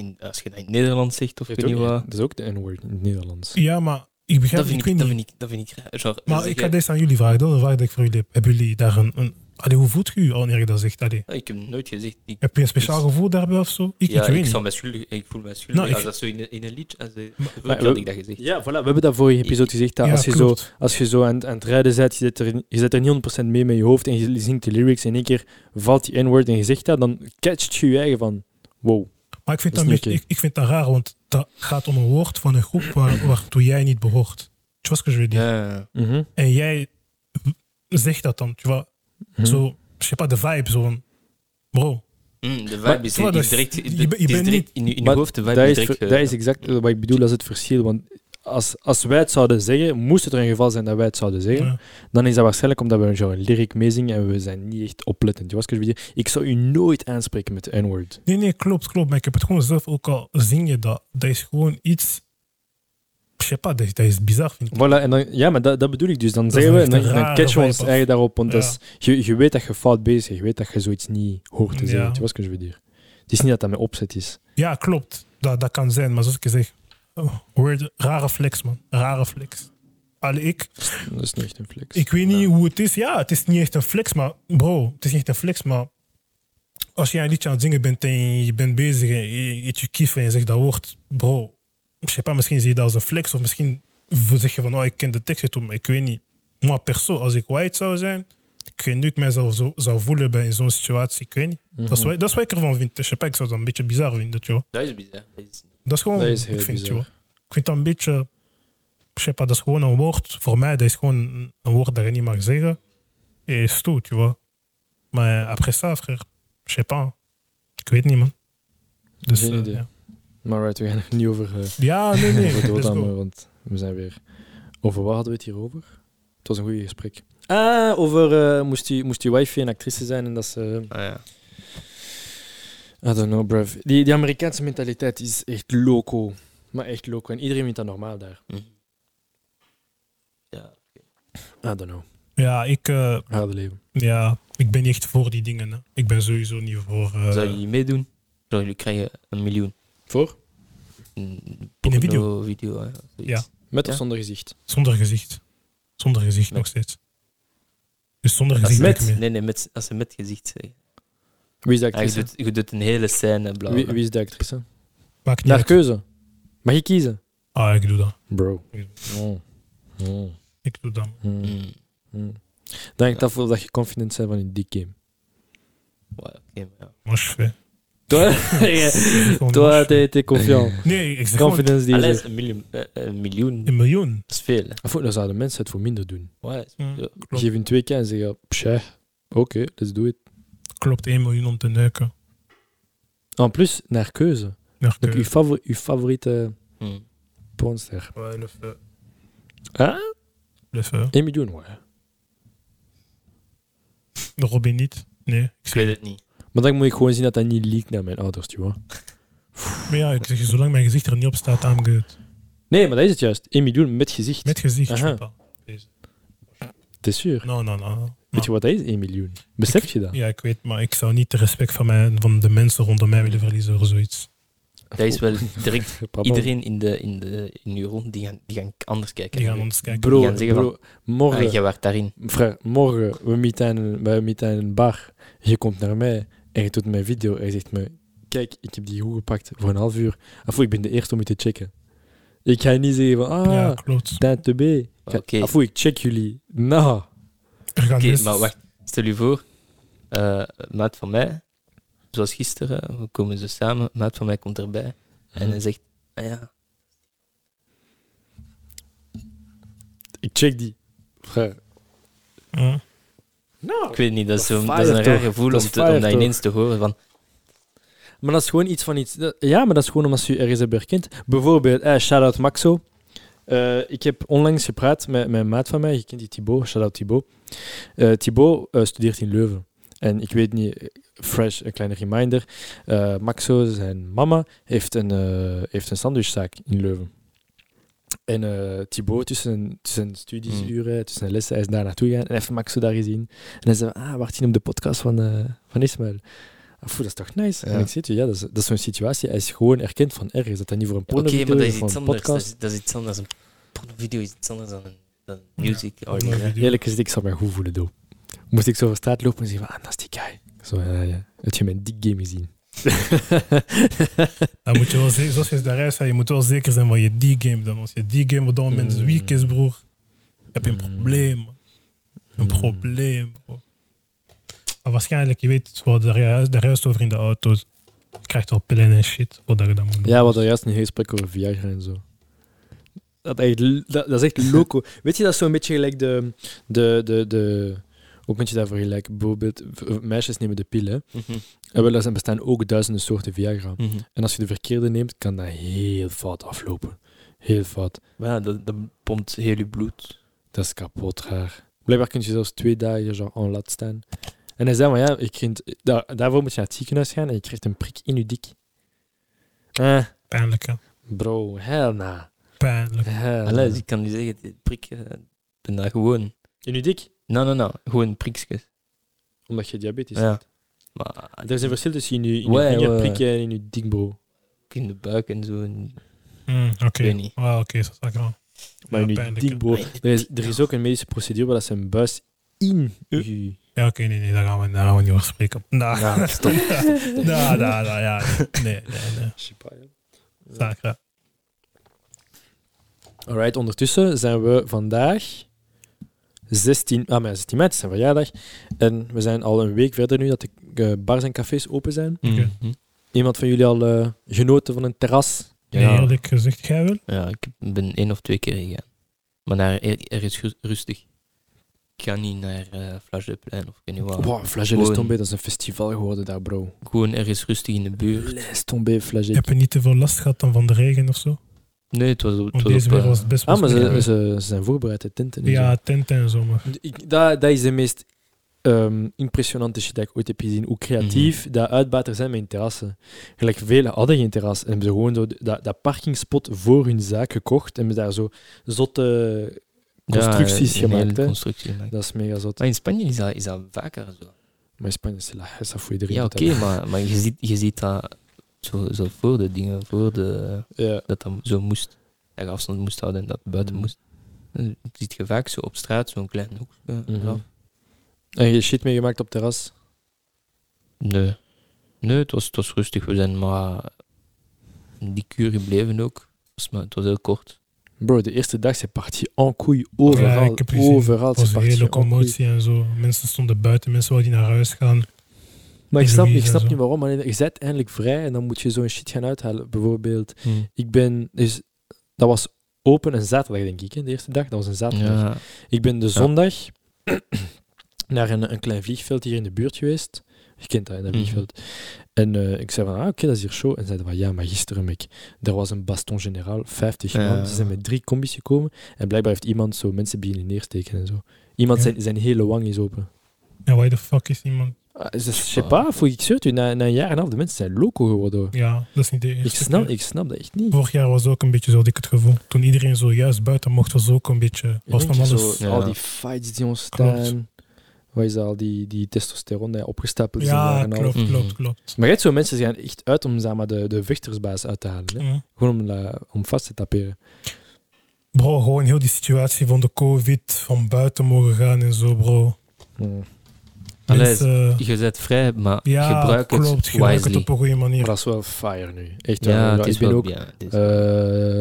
in, als je dat in het Nederlands zegt of weet niet wat.
dat is ook de N-word in het Nederlands.
Ja, maar ik begrijp,
Dat
ik,
vind
weet
ik, dat
niet.
vind ik, dat vind ik raar. Genre,
maar
zeggen-
ik ga deze aan jullie vragen, dat is een vraag die ik voor jullie heb. Hebben jullie daar een... een allee, hoe voelt u al wanneer je dat zegt? Allee,
Ah, ik heb nooit gezegd. Ik,
heb je een speciaal
Ik-
gevoel daarbij of zo? Ik,
ja,
ik weet
ik,
niet.
zou mij schuldig, ik voel mij schuldig.
Nou, ik-
als dat zo in, een- in een lied. Als de,
Maar-
vroeger had ik dat gezegd.
Ja, voilà. We hebben dat vorige episode gezegd. Dat
Ja,
als, je zo,
klopt.
als je zo aan, het- aan het rijden bent, je zit, er, je zit er niet 100% mee met je hoofd en je zingt de lyrics en in één keer valt die N-word en je zegt dat, dan catcht je je eigen van wow.
Maar ik vind
Dat
dat,
is
een
niet
beetje- ik, ik vind dat raar, want dat gaat om een woord van een
<clears throat>
groep waar, waartoe jij niet behoort. Tu vois ce que je veux dire?
Ja, ja, ja.
Mhm.
En jij zegt dat dan? Tu vois,
Hm.
zo, je sais pas, de vibe, zo van, bro,
Mm, de
Maar-
vibe is,
Ja,
is
dus
direct,
je
is
ben- je
direct
bent niet-
in, je- in je
Maar
hoofd. De vibe
dat
is
is,
direct...
ver-
eh,
dat is exact wat ik bedoel als het verschil. Want als, als wij het zouden zeggen, moest het er een geval zijn dat wij het zouden zeggen,
Ja.
dan is dat waarschijnlijk omdat we een genre lyric meezingen en we zijn niet echt oplettend. Je was ik bedoel? Ik zou u nooit aanspreken met de N-word.
nee, nee, klopt, klopt. Maar ik heb het gewoon zelf ook al, zing je dat. Dat is gewoon iets, je sais pas, dat is, dat is bizar, vind ik.
Voilà, en dan, ja, maar dat, dat bedoel ik dus. Dan
Dat
zeggen we,
is
en
echt
dan,
een
dan
rare
catchen we ons
vibe af.
eigen daarop. Want dat
Ja.
is- je, je weet dat je fout bezig bent. Je weet dat je zoiets niet hoort te
Ja.
zeggen. Je was ik bedoel? Het is niet dat dat met opzet is.
Ja, klopt. Dat, dat kan zijn. Maar zoals ik je zeg, oh, weird, rare flex, man. Rare flex. Allee, ik,
Dat is niet echt een flex.
ik weet niet hoe het is. Ja, het is niet echt een flex, maar bro, het is niet echt een flex, maar als jij een liedje aan het zingen bent en je bent bezig en je eet je kief en je zegt dat woord, bro, ik weet pas, misschien zie je dat als een flex of misschien zeg je van, oh, ik ken de tekst en toe, maar ik weet niet. Moi, perso, als ik white zou zijn, ik weet niet hoe ik mezelf zo, zou voelen bij in zo'n situatie, ik weet niet. dat,
Mhm.
is, wat- dat is wat ik ervan vind. Je weet pas, ik zou dat een beetje bizar vinden, joh.
dat is bizar. Dat is-
Dat is gewoon,
Dat is heel
ik vind
bizar.
joh. Ik vind dat een beetje, ik zeg maar, dat is gewoon een woord. Voor mij, dat is gewoon een- een woord dat je niet mag zeggen. En is tout, tu vois. Maar eh, après ça, frère, je sais pas. Ik weet niet, man. Dus,
Geen
eh,
idee.
ja.
Maar right, we gaan er niet over... eh,
ja,
<laughs>
nee, nee.
Even
let's
doordamen,
go.
want we zijn weer. Over wat hadden we het hier over? Het was een goed gesprek. Ah, over eh, moest, die, moest die wifi een actrice zijn en dat ze.
Ah, ja.
I don't know, bruv. Die, die Amerikaanse mentaliteit is echt loco. Maar echt loco. En iedereen vindt dat normaal daar.
Hm.
Eh.
Ja.
I don't know.
Ja, ik, eh,
Harde leven.
ja, ik ben niet echt voor die dingen. Hè. Ik ben sowieso niet voor... eh,
Zou jullie meedoen? Zou jullie krijgen een miljoen?
Voor?
In
een video?
video hè, of zoiets.
Ja.
Met of
Ja?
zonder gezicht.
Zonder gezicht. Zonder gezicht
Nee.
nog steeds. Dus zonder
Als
gezicht
ze
ben ik mee.
met, nee, nee, met, als ze met gezicht zeggen.
Wie is de
Ah, je,
actrice?
doet, je doet een hele scène, bla
Wie,
bla.
wie is de actrice?
Maakt niet
Naar
uit.
keuze. Mag je kiezen?
Ah, ik doe dat.
Bro. Oh. Oh.
Ik doe dat.
Hmm.
Mm.
Hmm. Dan hangt af of dat je confident bent van in die game.
Ouais, oké, maar ja.
Moi, je fais.
<laughs> Toi,
Gewoon moi,
toi
je fais.
t'es t'es <laughs> confiant.
Nee, ik zeg gewoon
Confidence die is
Allee,
er.
een miljoen, eh, een miljoen
een miljoen.
is veel. Hè.
Of, dan zouden mensen het voor minder doen.
Ouais,
Ja, klopt.
Geef hun twee keer en zeggen, psha, oké, let's do it.
Klopt, 1 miljoen om te neuken.
En plus, naar keuze.
Naar
Dus uw,
keuze.
favor- uw favoriete
Mm.
pornster.
Ouais, le feu.
Huh?
Le feu.
1 miljoen, ouais.
De Robin niet. Nee. Ik
Ik
zeg,
weet het
<laughs>
niet.
Maar dan moet ik gewoon zien dat dat niet leakt naar mijn ouders, tu vois.
maar ja, ik zeg, zolang mijn gezicht er niet op staat, I'm good.
Nee, maar dat is het juist. 1 miljoen met gezicht.
Met gezicht,
Aha.
je pas.
T'es sûr?
No, no, no. no.
Weet je wat dat is, 1 miljoen? Besef je dat?
Ja, Ah. ik weet, maar ik zou niet de respect van, mij, van de mensen rondom mij willen verliezen of zoiets.
Dat is wel direct
Papa.
iedereen in de, in de in uw rond, die gaan, die gaan anders kijken.
Die gaan ons kijken.
Bro,
Die gaan zeggen
bro, morgen,
Ah, jij werd daarin.
Frère, morgen, we meeten bij meeten in een bar. Je komt naar mij en je doet mijn video. En je zegt me: Kijk, ik heb die hoe gepakt voor een half uur. Of ik ben de eerste om je te checken. Ik ga niet zeggen van:
Ja,
Ah,
klopt.
tijd te B.
Oké.
Of ik check jullie. Nou,
Er gaan
Oké,
mensen-
maar wacht. Stel je voor, eh maat van mij, zoals gisteren, we komen ze samen, maat van mij komt erbij
Mhm.
en hij zegt, ah ja,
ik check die. Frère,
Ja. Nou.
ik weet niet, dat is,
Dat is
zo, dat is een
fire
raar
toch?
gevoel om,
Dat is
te, om
fire
dat
toch?
ineens te horen van,
Maar dat is gewoon iets van iets. dat- Ja, maar dat is gewoon omdat je je ergens hebt herkend. Bijvoorbeeld, eh, shout-out Maxo. Eh, ik heb onlangs gepraat met, met een maat van mij, je kent die Thibaut, shout-out Thibaut. Eh, Thibaut eh, studeert in Leuven. En ik weet niet, eh, fresh, een kleine reminder. eh, Maxo, zijn mama, heeft een, eh, heeft een sandwichzaak in Leuven. En eh Thibaut, tussen, zijn- tussen zijn studiesuren, tussen zijn lessen, hij is daar naartoe gegaan en heeft Maxo daar gezien. En hij zei, ah, wacht je op de podcast van, eh van Ismaël? Ah, foe, dat is toch nice?
Ja.
En ik zeg, ja, dat is, dat is zo'n situatie. Hij is gewoon erkend van ergens. Dat dat niet voor een
oké,
pornovideo
maar dat
is,
is
of
iets
voor een
anders, dus-
podcast.
dat is, dat is iets anders, een pornovideo is iets anders dan, een- dan
Ja.
music. Ja,
Een video.
Eerlijk gezegd, ik zou mij goed voelen, doe. Moest ik zo over straat lopen en zeggen, van, ah, dat is die guy. Zo, ja, ja. Heb je mijn dick game gezien?
Dan moet je wel zeker, zoals je daaruit zei, je moet wel zeker zijn van je die game dan. Als je die game op dat moment
Mm.
weak is, broer, heb je een
Mm.
probleem. man. Een
Mm.
probleem, bro. Maar waarschijnlijk, je weet, het, we hadden daar juist- daar juist over in de auto's. Je krijgt al pillen en shit, voordat je dat moet doen.
ja, we hadden juist een heel gesprek over Viagra en zo. dat, eigenlijk- dat, dat is echt loco. <laughs> Weet je, dat is zo'n beetje gelijk de... de, de, de hoe kun je daarvoor gelijk? Bijvoorbeeld, v- meisjes nemen de pil, hè.
Mhm.
En wel, er bestaan ook duizenden soorten Viagra.
Mhm.
En als je de verkeerde neemt, kan dat heel fout aflopen. Heel fout.
<laughs> Maar ja, dat, dat pompt heel je bloed.
Dat is kapot raar. Blijkbaar kun je zelfs twee dagen zo on laat staan. En hij zei, maar ja, je kunt, daar, daarvoor moet je naar het ziekenhuis gaan en je krijgt een prik in je dik. Eh,
Pijnlijk, hè.
bro, hell nah.
Pijnlijk.
Hell
Allee,
nah.
dus ik kan niet zeggen, dit prik, eh, ik ben daar gewoon.
In je dik?
Nou, nou, nou, gewoon prikjes.
Omdat je diabetes
Ja.
hebt.
Maar
Er is een verschil tussen in je, in je
Ouais,
vinger
ouais.
prikken en in je dik, bro.
in de buik en zo. en-
Hmm, oké.
weet niet.
Ah, oké, dat is wel graag.
Maar
Ja,
in je
pijnlijk,
dik,
hè.
bro. Er is, er is ook een medische procedure waar dat ze een buis in je...
Ja, oké, nee, nee, daar gaan we, daar gaan we niet over spreken. Nou,
Ja, stop.
<laughs> nou, nou, nou, ja. Nee, nee, nee. Sacra.
Alright, ondertussen zijn we vandaag 16, ah, maar 16 mei, het is zijn verjaardag. En we zijn al een week verder nu dat de eh, bars en cafés open zijn.
Mhm.
Iemand van jullie al eh, genoten van een terras?
Nee,
Ja.
eerlijk gezegd, jij wel?
Ja, ik ben één of twee keer gegaan. Maar naar er, er is ru- rustig. Ik ga niet naar eh Flash de Plein of ik weet niet waar.
Wow, Flagelle
Gewoon-
Stombé, dat is een festival geworden daar, bro.
Gewoon er is rustig in de buurt.
Stombé, Flagelle.
Heb je niet te veel last gehad dan van de regen of zo?
Nee, het was, het
Want
was
deze
op,
weer
eh,
was het best wel
Ah, maar
slecht
ze,
weer.
ze, ze zijn voorbereid, de tinten. en
Ja, tenten en zo, maar...
zo. Ik- Dat, dat is de meest ehm, impressionante shit dat ik ooit heb gezien. Hoe creatief
Mhm.
dat uitbaters zijn met terrassen. Gelijk, velen hadden geen terras. En hebben ze gewoon zo de- dat, dat parkingspot voor hun zaak gekocht. En hebben daar zo zotte constructies
ja, een hele
gemaakt. hè.
constructie gemaakt.
Dat is mega zot.
Maar in Spanje is dat, is dat vaker zo.
Maar in Spanje is la hessa voor iedereen.
Ja,
dat
oké,
dat-
maar, maar je, ziet, je ziet dat zo, zo voor de dingen, voor de,
Ja.
dat dat zo moest. Dat je afstand moest houden en dat het buiten
Mhm.
moest. Dan ziet je vaak zo op straat, zo'n klein hoek. eh,
Mhm.
eraf.
En je shit meegemaakt op terras?
Nee. Nee, het was, het was rustig. We zijn maar die kuur gebleven ook. Het was, maar, het was heel kort.
Bro, de eerste dag, ze partie en couille overal.
Ja, ik heb gezien.
overal,
Het was
ze
een
partie
hele
en couille.
commotie en zo. Mensen stonden buiten, mensen wilden naar huis gaan.
Maar ik snap, ik
Louise en
snap
zo.
niet waarom. Maar je bent eindelijk vrij en dan moet je zo'n shit gaan uithalen. Bijvoorbeeld,
Hmm.
ik ben... Dus, dat was open een zaterdag, denk ik. Hè, de eerste dag, dat was een zaterdag.
Ja.
Ik ben de zondag <clears throat> naar een, een klein vliegveld hier in de buurt geweest. Je kent dat, hè, dat
Mhm.
vliegveld. En eh, ik zei van, ah, oké, dat is hier show. En zeiden van, ja, maar gisteren, ik, er was een baston generaal, 50 man.
Ja.
Ze zijn met drie combis gekomen. En blijkbaar heeft iemand zo mensen beginnen neersteken en zo. Iemand
Ja.
zijn, zijn hele wang is open.
Ja, why the fuck is iemand...
Ah, dus, je sais pas, voor ik zweer het u, na, na een jaar en een half, de mensen zijn loco geworden. hoor.
Ja, dat is niet de eerste
Ik snap,
keer.
ik snap dat echt niet.
Vorig jaar was ook een beetje zo, had ik het gevoel. Toen iedereen zo juist buiten mocht, was ook een beetje... Was
Ik denk
van
je
alles...
zo,
Ja.
Al die fights die ontstaan.
Klopt.
Wat is dat, al die, die testosteron die opgestapeld is in een jaar
Ja,
en een half.
klopt,
Mhm.
klopt, klopt.
Maar je hebt zo mensen die gaan echt uit om zeg maar, de, de vechtersbaas uit te halen. Hè?
Mhm.
Gewoon om, la- om vast te taperen.
Bro, gewoon heel die situatie van de COVID, van buiten mogen gaan en zo, bro.
Allee,
Mensen, eh,
Je bent vrij, maar
ja,
gebruik het
klopt, gebruik het
wisely.
op een goede
Maar
manier.
dat is wel fire nu. Echt
Ja,
waar.
het is
ik ben
wel...
ook
ja, het is-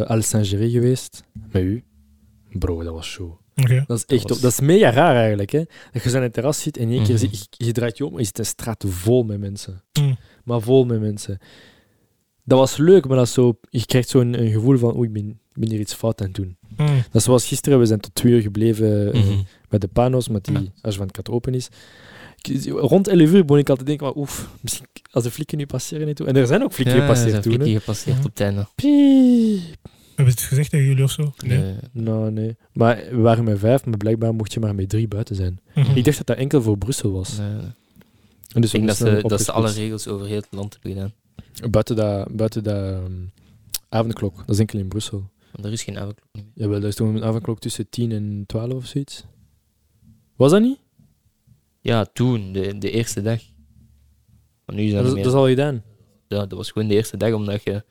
eh al Saint-Géry geweest. Met u. Bro, dat was show.
Oké.
Dat is echt
was-
op- dat is mega raar eigenlijk. Hè? Dat je zo aan het terras zit en in één keer
Mhm.
zie- je, je draait je om en je zit een straat vol met mensen.
Mm.
Maar vol met mensen. Dat was leuk, maar dat is zo, je krijgt zo'n een gevoel van oei, ik ben, ik ben hier iets fout aan het doen.
Mm.
Dat is zoals gisteren, we zijn tot twee uur gebleven eh,
Mhm.
met de panos, met die
Ja.
als je van het open is. Ik- Rond 11 uur begon ik altijd te denken, maar oef, misschien als de flikken nu passeren en toe. En er zijn ook flikken
Ja,
gepasseerd
zijn
toen. hè.
flikken gepasseerd
Ja.
op het einde.
Piep.
Hebben ze het gezegd tegen jullie of zo?
Eh,
Nou, nee. Maar we waren met vijf, maar blijkbaar mocht je maar met drie buiten zijn.
Mhm.
Ik dacht dat dat enkel voor Brussel was.
nee, nee.
En dus
Ik
we
denk dat
moesten
ze,
dan
dat ze alle
opgesplitst.
regels over heel het land hebben gedaan.
Buiten dat, buiten dat ehm, avondklok, dat is enkel in Brussel.
Want er is geen avondklok meer.
Jawel, dat is toen een avondklok tussen 10 en 12 of zoiets. Was dat niet?
Ja, toen, de, de eerste dag. Maar nu is dat,
Dat, is-
niet
dat
meer.
is al gedaan.
ja, dat was gewoon de eerste dag, omdat je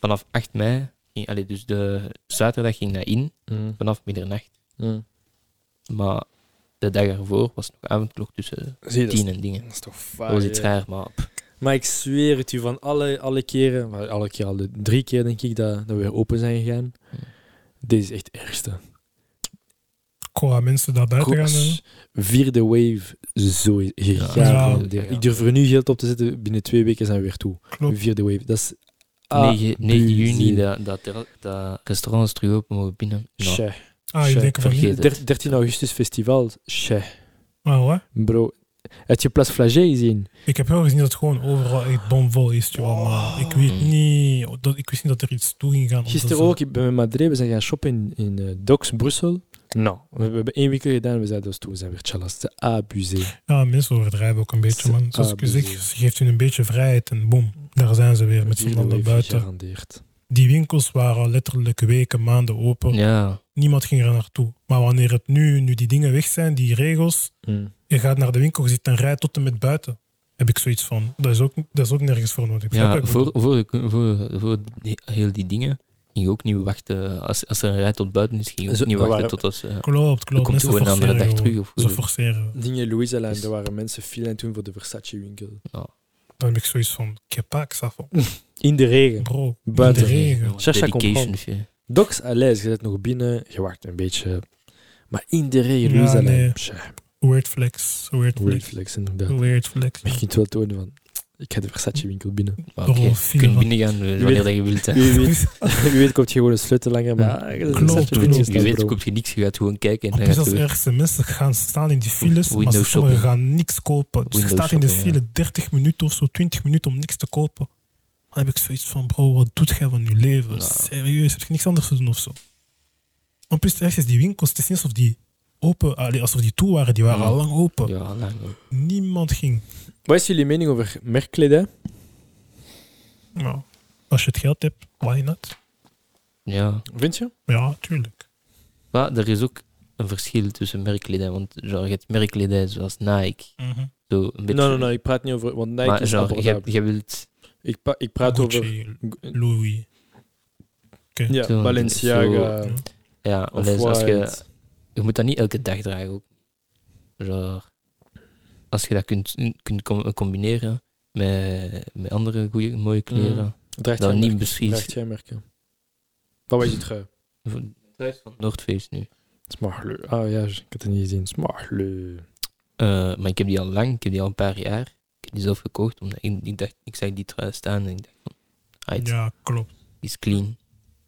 vanaf 8 mei, ging, allee, dus de zaterdag ging dat in,
Mm,
vanaf middernacht.
mm.
Maar de dag ervoor was nog avondklok tussen
Zie je, dat is-
10 en dingen.
dat is toch
Dat
fijn.
was iets raar, maar pff,
Maar ik zweer het u, van alle, alle keren, maar alle keer, al de drie keer denk ik dat, dat we weer open zijn gegaan.
Ja.
Dit is echt het ergste.
Qua mensen daar buiten gaan. en zo.
Koers, vierde wave, zo is
Ja.
ja,
Ja.
Ik durf er nu geld op te zetten, binnen twee weken zijn we weer toe.
Klopt.
Vierde wave, dat is Ah,
9, 9 juni
buzie.
dat, dat, er- dat restaurants terug open mogen binnen. Nou,
Tje.
Ah, je
Shit,
denkt van niet.
vergeet het.
Der- 13 augustus festival. Tje.
Ah, ouais.
Bro, heb je Place Flagey gezien?
Ik heb wel gezien dat het gewoon overal echt bomvol is, joh, maar ik weet
Mm.
niet, dat, ik wist niet dat er iets toe ging gaan. omdat
Oh. Gisteren
ze-
ook, ik ben met Madrid, we zijn gaan shoppen in, in eh, Docs, Brussel. Nou, we, we hebben één winkel gedaan, we zeiden dus toen, we zijn weer challas, ze abusé.
Ja, mensen overdrijven ook een beetje,
Ze-
man. Zoals
ah,
ik u zeg,
bezig.
ze geeft hun een beetje vrijheid en boom, daar zijn ze weer met z'n allen buiten.
Gegarandeerd.
Die winkels waren al letterlijk weken, maanden open.
Ja,
Niemand ging er naartoe. Maar wanneer het nu, nu die dingen weg zijn, die regels,
Mm.
je gaat naar de winkel, je zit en rijdt tot en met buiten. Heb ik zoiets van, dat is ook, dat is ook nergens voor nodig. Snap je?
ja
Ik
voor,
bedoel,
voor, voor, voor die- heel die dingen ging je ook niet wachten. Als, als er een rij tot buiten is, ging je
Zo-
ook niet
maar
wachten
waar-
tot als... eh,
Klopt,
dan
klopt.
komt
Mensen
gewoon een andere
forceren
dag
gewoon.
terug. Of,
Ze forceren.
Dingen Louise Alain,
Is-
er waren mensen filen toen voor de Versace winkel.
Dan heb ik zoiets van, kepak, safo.
In de regen.
Bro,
Buiten.
de regen.
Sasha
Dedication.
Compton.
shit.
Docs à l'aise, je zit nog binnen, je wacht een beetje. Maar in de regen,
Ja,
Louise Alain.
nee.
Tje,
Weird flex,
weird
weird flex,
flex, inderdaad.
<laughs>
weird flex. <laughs>
Maar je kunt wel tonen van, ik ga de Versace winkel binnen.
Maar oké,
Door een
Je
file
kunt
van-
binnengaan eh, wanneer dat je wilt. hè.
Wie weet, <laughs> wie weet komt je gewoon een sleutel langer, maar ah, je hebt een
Klopt,
Versace
klopt.
winkel
Wie
staan,
weet
bro.
komt je niks, je gaat gewoon kijken en
Op
dan
is
gaat
als
je weer...
ergste mensen gaan staan in die files, maar
Windows
ze- sommigen
shopping.
gaan niks kopen. Dus je
Windows
staat in de
shopping,
file 30 minuten of zo, 20 minuten om niks te kopen. Dan heb ik zoiets van, bro, wat doet jij van je leven?
Nou.
Serieus, heb je niks anders te doen of zo? Op plus, echt is die winkels, het is niet alsof die open, allee, alsof die toe waren, die waren
Ja.
al lang open.
Ja, lang. hoor.
Niemand ging.
Wat is jullie mening over merkkledij?
Nou, als je het geld hebt, why not?
Ja.
Vind je?
Ja, tuurlijk.
Maar er is ook een verschil tussen merkkledij. Want genre, je hebt merkkledij zoals Nike. Zo een beetje,
Nee, nee, nee, ik praat niet over... Want Nike
Maar
is
genre, je,
abordabel.
je wilt...
Ik, pa- ik praat over...
Gucci, Louis.
Ja,
Zo-
Balenciaga.
zo-
Ja,
of
alleen als je,
White.
je moet dat niet elke dag dragen ook. Genre, als je dat kunt, kunt com- combineren met, met andere goeie, mooie
Mm.
kleren.
Draagt
Dan
jij
niet
merken?
beschiet.
Draagt jij merken? Wat was je trui?
Van North Face nu.
Smartlu. Ah ja, ik had het niet gezien. Smartlu.
Eh, maar ik heb die al lang, ik heb die al een paar jaar. Ik heb die zelf gekocht, omdat ik, ik dacht, ik zag die trui staan en ik dacht van, right,
Ja, klopt.
die is clean.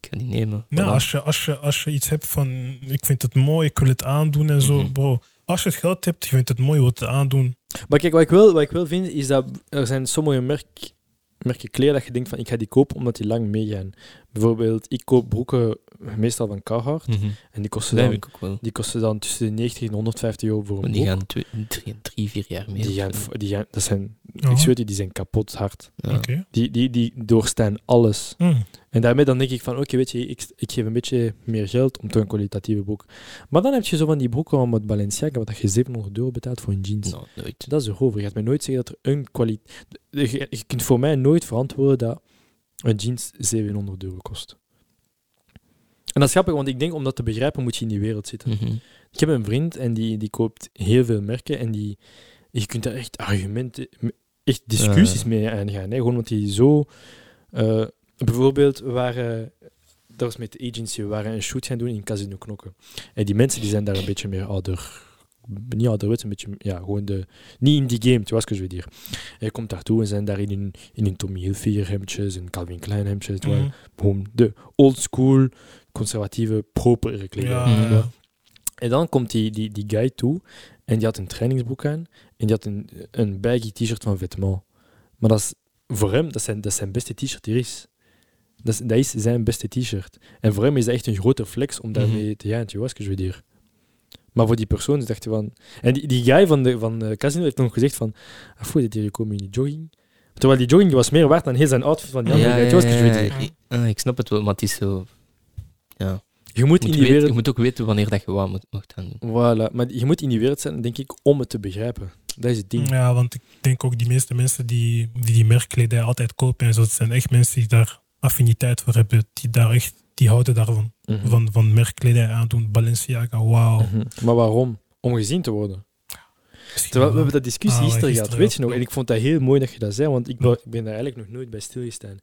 Ik ga die nemen.
Nou,
Voilà.
als je, als, je, als je iets hebt van ik vind het mooi, ik wil het aandoen en zo,
Mhm.
bro. Als je het geld hebt, je vindt het mooi, je wilt het aandoen.
Maar kijk, wat ik, wel, wat ik wel vind, is dat er zijn sommige merk, merken kleren dat je denkt van ik ga die kopen omdat die lang meegaan. Bijvoorbeeld, ik koop broeken meestal van Carhartt
Mhm.
en die kosten,
Dat heb
dan,
ik ook wel.
die kosten dan tussen de 90 en 150 euro voor een
Want die
broek.
gaan twee, drie, drie, vier jaar mee.
Die gaan, die gaan, dat zijn,
Ja.
ik zweer je, die zijn kapot hard.
Ja.
Oké.
Die, die, die doorstaan alles.
Mm.
En daarmee dan denk ik van, oké, weet je, ik, ik geef een beetje meer geld om toch een kwalitatieve broek. Maar dan heb je zo van die broeken om het Balenciaga, wat je 700 euro betaalt voor een jeans.
Nou, nooit.
Dat is erover. Je gaat mij nooit zeggen dat er een kwaliteit... Je, je kunt voor mij nooit verantwoorden dat een jeans 700 euro kost. En dat is grappig, want ik denk om dat te begrijpen moet je in die wereld zitten.
Mhm.
Ik heb een vriend en die, die koopt heel veel merken en die, je kunt daar echt argumenten, echt discussies mee aangaan. Hè? Gewoon omdat die zo... eh, bijvoorbeeld, we waren, dat was met de agency, we waren een shoot gaan doen in Casino Knokken. En die mensen die zijn daar een beetje meer ouder... Niet ouderwets, een beetje... Ja, gewoon de... Niet in die game, tu vois ce que je veux dire. En je komt daartoe en zijn daar in hun, in hun Tommy Hilfiger hemdjes en Calvin Klein hemdjes. tu vois.
Mm.
Gewoon de old school, conservatieve, propere kleding.
Ja,
Mhm.
ja.
En dan komt die, die, die guy toe en die had een trainingsbroek aan en die had een, een baggy t-shirt van Vetements. Maar dat is voor hem, dat zijn, dat zijn beste t-shirt die er is. Dat is, dat is zijn beste t-shirt. En voor hem is dat echt een grote flex om daarmee
Mhm.
te gaan, tu vois ce que je veux dire. Maar voor die persoon dacht hij van... En die, die guy van, de, van eh, Casino heeft nog gezegd van... Afvoer, dit hier komen in die jogging. Terwijl die jogging was meer waard dan heel zijn outfit van die andere guy. Tu vois ce que je veux dire.
ja. Ah, ik snap het wel, maar het is zo. Ja.
Je moet
Je,
in
moet
die
weten-
wereld
je moet ook weten wanneer dat je wat moet, mocht gaan doen.
Voilà, maar je moet in die wereld zijn, denk ik, om het te begrijpen. Dat is het ding.
Mhm. ja, want ik denk ook die meeste mensen die die, die merkkledij altijd kopen en zo, dat zijn echt mensen die daar affiniteit voor hebben. Die, daar echt, die houden daarvan,
Mhm.
van, van merkkledij aandoen. Balenciaga, wauw.
Mhm. Maar waarom? Om gezien te worden.
Misschien
Terwijl, we
wel.
hebben dat discussie
Ah,
gisteren gehad,
gisteren,
weet je
ja.
nog? En ik vond dat heel mooi dat je dat zei, want ik ben, ik ben daar eigenlijk nog nooit bij stilgestaan.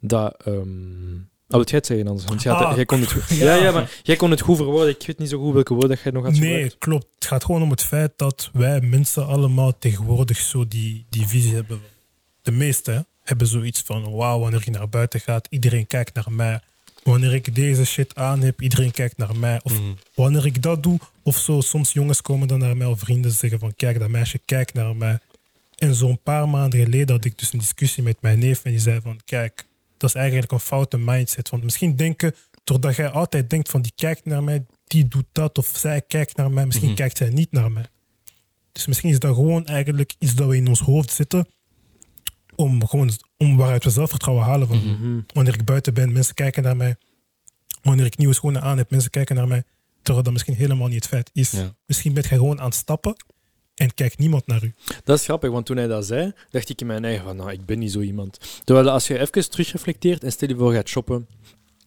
Dat... ehm ah, wat jij het zeggen anders? Want jij, had-
Ah,
jij
<laughs>
kon het goed, ja.
ja.
Ja, maar jij kon het goed verwoorden. Ik weet niet zo goed welke woorden dat jij nog had
Nee,
gebruikt.
klopt. Het gaat gewoon om het feit dat wij mensen allemaal tegenwoordig zo die, die visie hebben. De meeste, hè. hebben zoiets van, wauw, wanneer je naar buiten gaat, iedereen kijkt naar mij. Wanneer ik deze shit aan heb, iedereen kijkt naar mij. Of
Mm.
Mhm.
wanneer ik dat doe, of zo. Soms jongens komen dan naar mij of vrienden zeggen van, kijk, dat meisje kijkt naar mij. En zo'n paar maanden geleden had ik dus een discussie met mijn neef en die zei van, kijk, dat is eigenlijk een foute mindset. Want misschien denken, doordat jij altijd denkt van, die kijkt naar mij, die doet dat, of zij kijkt naar mij, misschien
Mhm.
kijkt zij niet naar mij. Dus misschien is dat gewoon eigenlijk iets dat we in ons hoofd zitten, om, gewoon, om waaruit we zelfvertrouwen halen. Van,
Mhm.
Wanneer ik buiten ben, mensen kijken naar mij. Wanneer ik nieuwe schoenen aan heb, mensen kijken naar mij. Terwijl dat misschien helemaal niet het feit is.
Ja.
Misschien ben je gewoon aan het stappen en kijkt niemand naar u.
Dat is grappig, want toen hij dat zei, dacht ik in mijn eigen van, nou, ik ben niet zo iemand. Terwijl als je even terugreflecteert en stel je voor, je gaat shoppen.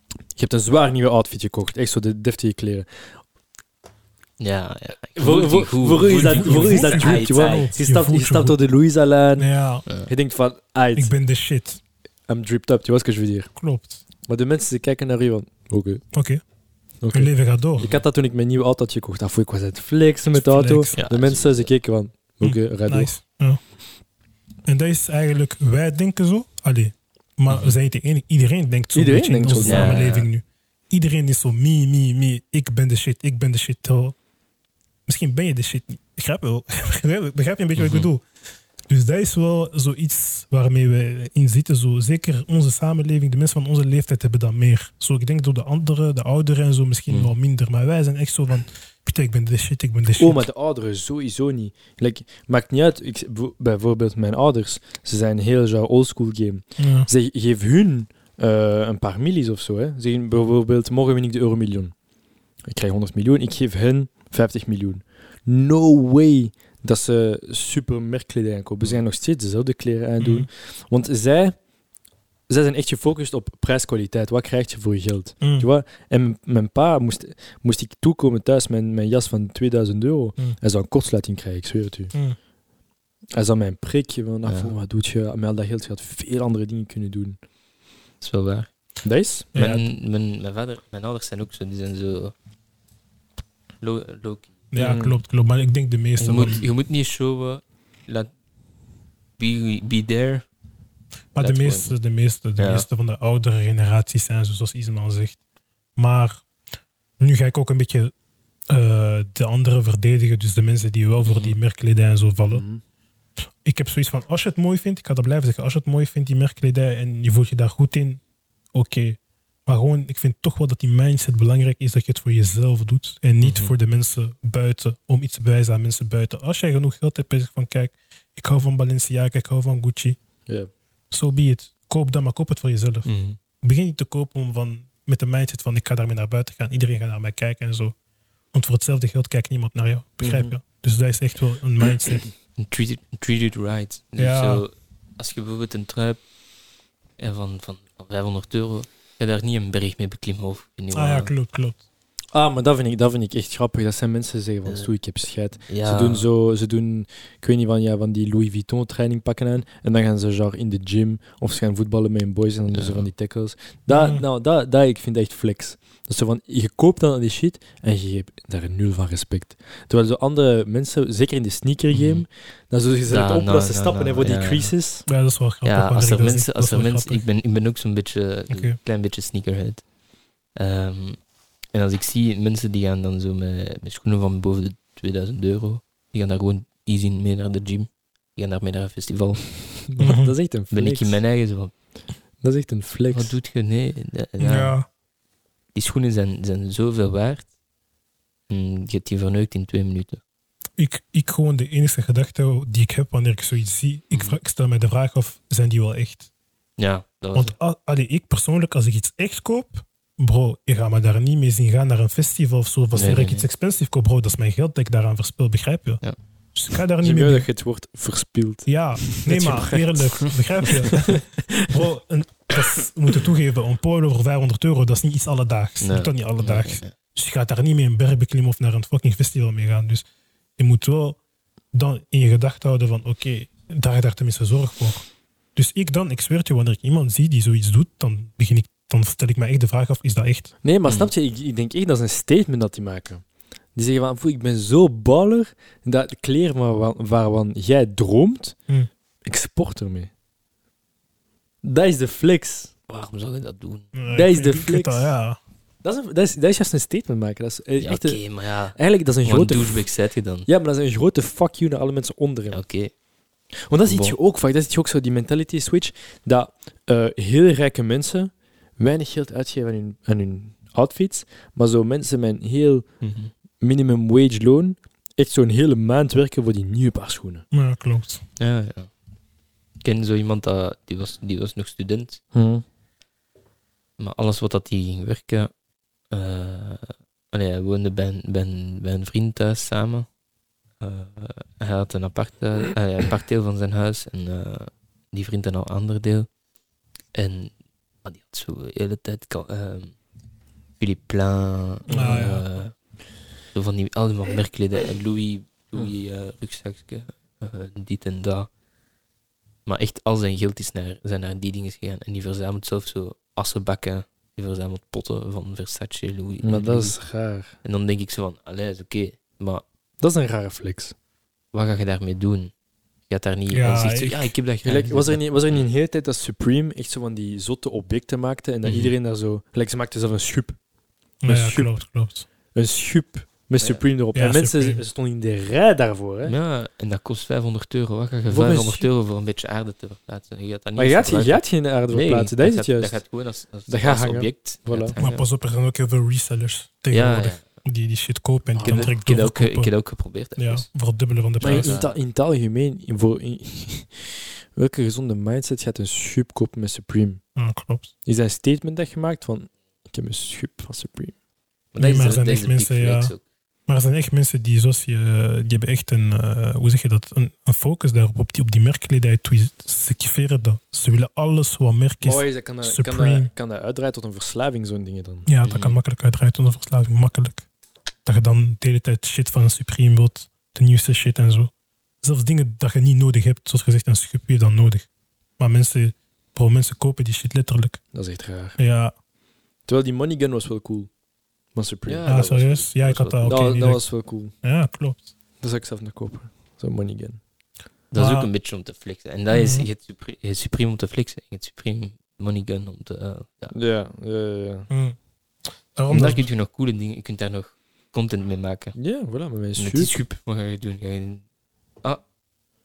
Je hebt een zwaar nieuwe outfit gekocht, echt zo de deftige kleren.
Ja, ja. Ik voel
Voor,
die
voor,
goed.
voor u is dat,
Je
voor u is
voelt
dat
je
dupe,
goed.
gewoon.
Je
Je
voelt
stapt,
je
je stapt
goed.
door de Louisa-lijn.
Ja,
Je denkt van, uit,
ik ben de shit.
I'm dripped up, je was je weer.
Klopt.
Maar de mensen ze kijken naar u van, oké.
Oké,
oké.
hun leven gaat door.
Ik had dat toen ik mijn nieuwe auto had gekocht. Daarvoor ik was aan het flexen met de auto.
Flex.
Ja,
De mensen, ze keken van, oké,
Hm,
rijd door.
nice. Ja. En dat is eigenlijk, wij denken zo. Allee, maar we zijn niet de enige. Iedereen denkt zo.
Mhm. Iedereen
een beetje
denkt
in
zo.
onze
Ja, ja, ja.
samenleving nu. Iedereen is zo, me, me, me. Ik ben de shit, ik ben de shit. Terwijl Misschien ben je de shit niet. Begrijp je, wel? <laughs> Begrijp je een beetje wat ik
Mhm.
bedoel? Dus dat is wel zoiets waarmee we in zitten. Zo. Zeker onze samenleving, de mensen van onze leeftijd hebben dat meer. Zo, ik denk door de anderen, de ouderen en zo misschien
Mhm.
wel minder. Maar wij zijn echt zo van, Pieter, ik ben de shit, ik ben de shit.
Oh, maar de ouderen sowieso niet. Like, maakt niet uit. Ik, bijvo- bijvoorbeeld mijn ouders, ze zijn heel jouw oldschool game.
Ja.
Zeg, geef hun eh, een paar millies of zo. Hè. Zeg, bijvoorbeeld, morgen win ik de euromiljoen. Ik krijg 100 miljoen, ik geef hen 50 miljoen. No way dat ze super merkkledij aankopen. Ze gaan nog steeds dezelfde kleren aandoen. Want zij, zij zijn echt gefocust op prijskwaliteit. Wat krijg je voor je geld?
Mhm.
Je vois, en mijn pa moest, moest ik toekomen thuis met mijn jas van 2000 euro.
Mm.
Hij zou een kortsluiting krijgen, ik zweer het u.
Mhm.
Hij zou mij een prikje van, ah,
Ja.
voor wat doet je? Met al dat geld je had veel andere dingen kunnen doen.
Dat is wel waar.
Dat is?
Ja,
Mijn, mijn, mijn, vader, mijn ouders zijn ook zo, die zijn zo. Lo, lo-
Ja,
Mm.
klopt, klopt. Maar ik denk de meeste.
je,
man-
moet, je moet niet showen. Laat, be, be there.
maar de
laat
meeste, de, meeste, de
Ja.
meeste van de oudere generaties zijn zo, zoals Ismael zegt. Maar nu ga ik ook een beetje eh, de anderen verdedigen. Dus de mensen die wel
Mhm.
voor die merkkledij en zo vallen.
Mhm.
Ik heb zoiets van, als je het mooi vindt, ik ga dat blijven zeggen. Als je het mooi vindt, die merkkledij, en je voelt je daar goed in, oké. Maar gewoon, ik vind toch wel dat die mindset belangrijk is dat je het voor jezelf doet. En niet
Mhm.
voor de mensen buiten, om iets te bewijzen aan mensen buiten. Als jij genoeg geld hebt en je zegt van, kijk, ik hou van Balenciaga, ik hou van Gucci.
Ja.
so be it. Koop dat, maar koop het voor jezelf.
Mhm.
Begin niet te kopen om van, met de mindset van ik ga daarmee naar buiten gaan. Iedereen gaat naar mij kijken en zo. Want voor hetzelfde geld kijkt niemand naar jou. Begrijp je?
Mhm.
Dus dat is echt wel een mindset.
And Treat it, treat it right. Dus
Ja.
zo, als je bijvoorbeeld een trui hebt en van, van, van 500 euro, ga daar niet een berg mee beklimmen. Of, ik weet niet
ah ja,
wat.
klopt, klopt.
Ah, maar dat vind, ik, dat vind ik echt grappig. Dat zijn mensen die zeggen van,
Ja.
stoei, ik heb scheid.
Ja.
Ze doen zo, ze doen, ik weet niet, van, ja, van die Louis Vuitton training pakken aan. En dan gaan ze genre in de gym of ze gaan voetballen met hun boys en dan doen
Ja.
ze van die tackles. Dat,
Ja.
nou, dat, dat ik vind echt flex. Dat ze van, je koopt dan die shit en je geeft daar nul van respect. Terwijl zo andere mensen, zeker in de sneaker game,
Mhm.
dan zullen ze
Ja,
op
nou,
dat ze
nou,
stappen
nou,
hè, voor die
ja.
creases.
<laughs> Ja, dat is wel grappig.
Ja,
wanneer
als
ik
er
dat
mensen,
zeg.
als
Dat
er
is wel
mensen, ik
grappig.
ben, ik ben ook zo'n beetje,
Oké.
een klein beetje sneakerhead. Ehm, en als ik zie mensen die gaan dan zo met, met schoenen van boven de 2000 euro, die gaan daar gewoon easy mee naar de gym. Die gaan daarmee naar een festival.
Mhm.
dat is echt een
Ben ik
flex.
in mijn eigen zo van,
Dat is echt een flex.
wat doet je? Nee. de- ja.
Ja.
Die schoenen zijn, zijn zoveel waard. En je hebt die verneukt in twee minuten.
Ik, ik gewoon de enige gedachte die ik heb wanneer ik zoiets zie,
Mhm.
ik, vra- ik stel mij de vraag af, zijn die wel echt?
Ja, dat was
Want al- allee, ik persoonlijk, als ik iets echt koop, bro, je gaat me daar niet mee zien gaan naar een festival of zo. Of als
Nee,
ik
nee,
iets
nee.
expensief koop, bro, dat is mijn geld dat ik daaraan verspil, begrijp je?
Ja.
Dus ik ga daar
Ze
niet
hebben
mee. mee-
dat je het woord verspild.
Ja, nee,
je
maar eerlijk, begrijp
<laughs>
je? bro, een, dat is, we moeten toegeven, een polo voor 500 euro, dat is niet iets alledaags.
Nee.
Dat is niet alledaags.
Nee, nee,
Dus je gaat daar niet mee een berg beklimmen of naar een fucking festival mee gaan. Dus je moet wel dan in je gedachten houden van oké, daar daar tenminste zorg voor. Dus ik dan, ik zweer het je, wanneer ik iemand zie die zoiets doet, dan begin ik, dan stel ik mij echt de vraag af, is dat echt?
Nee, maar
Mm.
snap je, ik, ik denk echt dat is een statement dat die maken. Die zeggen van, "Foei, ik ben zo baller dat
Hmm.
de kleren waarvan, waarvan jij droomt,
Mm.
ik sport ermee. Dat is de flex.
Waarom zou je dat doen?
Ja,
Dat is
ik-
de
ik weet
flex.
dat, ja.
Dat is, een- dat is, dat is juist een statement maken. Dat is eh,
Ja,
echt
oké,
een-
maar ja.
eigenlijk dat is een
Wat een
grote...
douchebag zet je dan?
Ja, maar dat is een grote fuck you naar alle mensen onder hem.
Ja, oké.
Want dat is iets
Bon.
ook vaak. Dat is iets ook zo, die mentality switch. Dat eh, heel rijke mensen weinig geld uitgeven aan hun, aan hun outfits. Maar zo mensen met een heel
Mhm.
minimum wage loon echt zo'n hele maand werken voor die nieuwe paar schoenen.
Ja, klopt.
Ja, ja. Ik ken zo iemand, dat, die, was, die was nog student, maar alles wat dat hij ging werken... eh allee, hij woonde bij, een- bij, een- bij een vriend thuis samen. Eh, hij had een apart, hu- eh, een apart deel van zijn huis en eh, die vriend een al ander deel. En maar die had zo de hele tijd... ka- eh, Philippe Plein,
Ah, ja.
eh, zo van die allemaal merkleden en Louis, Louis eh rugzakje, eh, dit en dat. Maar echt al zijn geld is naar, zijn naar die dingen gegaan. En die verzamelt zelf zo assenbakken. Die verzamelt potten van Versace, Louis.
Maar dat
Louis.
is raar.
En dan denk ik zo van, allee, is oké. Maar
Dat is een rare flex.
wat ga je daarmee doen? Je gaat daar niet
Ja,
en zegt zo,
ik-
ja, ik heb dat graag.
Gelijk, was, er niet, was er niet een hele tijd dat Supreme echt zo van die zotte objecten maakte en dat
Mhm.
iedereen daar zo... Gelijk, ze maakten zelf een schub.
Ja,
Dus
Een
ja,
schub.
klopt, klopt.
Een schub met
Ja.
Supreme erop.
Ja,
en mensen
Supreme.
stonden in de rij daarvoor. Hè?
Ja, en dat kost 500 euro. Wat ga je
Voor een
500
schi-
euro voor een beetje aarde te verplaatsen? Je gaat dat niet
Maar je gaat, je
verplaatsen.
gaat geen aarde voor plaatsen. Dat is het
gaat-
juist.
Dat gaat gewoon als, als,
Dat gaat
als
hangen.
object.
Voilà.
gaat
Maar
hangen.
pas op, er zijn ook heel veel resellers
ja,
tegenwoordig
ja.
die die shit kopen en die
Ik heb
dan
dat-
direct
ik heb dat ook, eh, ik heb
doorverkopen.
dat ook geprobeerd. dus.
Ja,
even.
voor het dubbele van de
Maar
prijs.
in, ta- in het algemeen, in, voor, in- <laughs> welke gezonde mindset gaat een schub kopen met Supreme?
Ja, klopt.
Is dat een statement dat gemaakt van ik heb een schub van Supreme?
Maar dat
Nee,
is
maar
een-
zijn
dat is
echt
een big
mensen, ja.
flex ook.
Maar er zijn echt mensen die, zoals je, die hebben echt een, eh, hoe zeg je dat, een, een focus daarop, op die, op die merkkledij. toe. Ze kifferen dat. Ze willen alles wat merk is.
dat kan,
dat- kan dat- Supreme.
uitdraaien tot een verslaving, zo'n dingen dan.
Ja, dat kan makkelijk uitdraaien tot een verslaving. Makkelijk. Dat je dan de hele tijd shit van Supreme wilt, de nieuwste shit en zo. Zelfs dingen dat je niet nodig hebt, zoals gezegd, een schub je dan nodig. Maar mensen, bro, mensen kopen die shit letterlijk.
Dat is echt raar.
Ja,
Terwijl die Money Gun was wel cool. Maar Supreme.
Ja,
ja,
dat was-
ah, serieus? Ja,
dat
ik had
was-
dat ook.
dat,
niet
dat
echt-
was wel cool.
Ja, klopt.
Dat zou ik zelf nog kopen. Zo'n Money Gun.
Dat is
Maar-
ook een beetje om te flexen. En dat is,
Mhm.
je hebt Supre- je hebt Supreme om te flexen. Je hebt Supreme Money Gun om te... eh, ja.
Ja, ja, ja.
Mm.
En
Daarom
daar kun
dat,
je nog coole dingen... Je kunt daar nog content mee maken.
Ja, voilà, met mijn
Met die
schub.
schup, wat ga je doen? Ga je-
ja,
Ik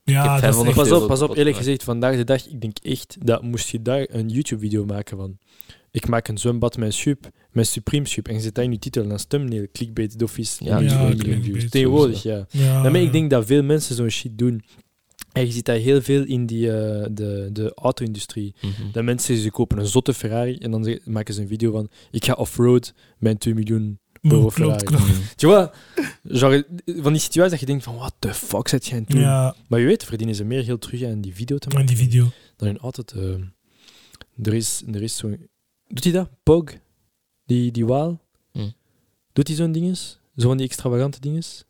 heb
dat is
500
echt-
Pas
veel
op, pas op,
kapot
eerlijk
gemaakt.
gezegd, vandaag de dag, ik denk echt dat moest je daar een YouTube-video maken van. Ik maak een zwembad met Sup, met Supreme Sup, en je zet daar in je titel en als thumbnail, clickbait, doffies,
Ja,
miljoen-
ja,
miljoen
clickbait,
views.
sowieso.
Tegenwoordig, ja.
ja,
Daarmee,
Ah, ja.
ik denk dat veel mensen zo'n shit doen. En je ziet dat heel veel in die, eh, de, de auto-industrie.
Mhm.
Dat mensen, ze kopen een zotte Ferrari en dan ze- maken ze een video van, ik ga off-road met 2 miljoen.
Bro,
Bro,
<laughs> klopt,
Ferrari.
klopt.
Tu vois? Genre, van die situatie dat je denkt van, what the fuck zet jij aan het doen?
Ja,
Maar je weet, verdienen ze meer geld terug aan die video te maken.
en die video.
Dan hun altijd. eh, er is, er is zo'n. Doet hij dat? Pog? Die, die waal?
Hmm.
Hm.
Doet hij zo'n dinges? Zo'n die extravagante dinges?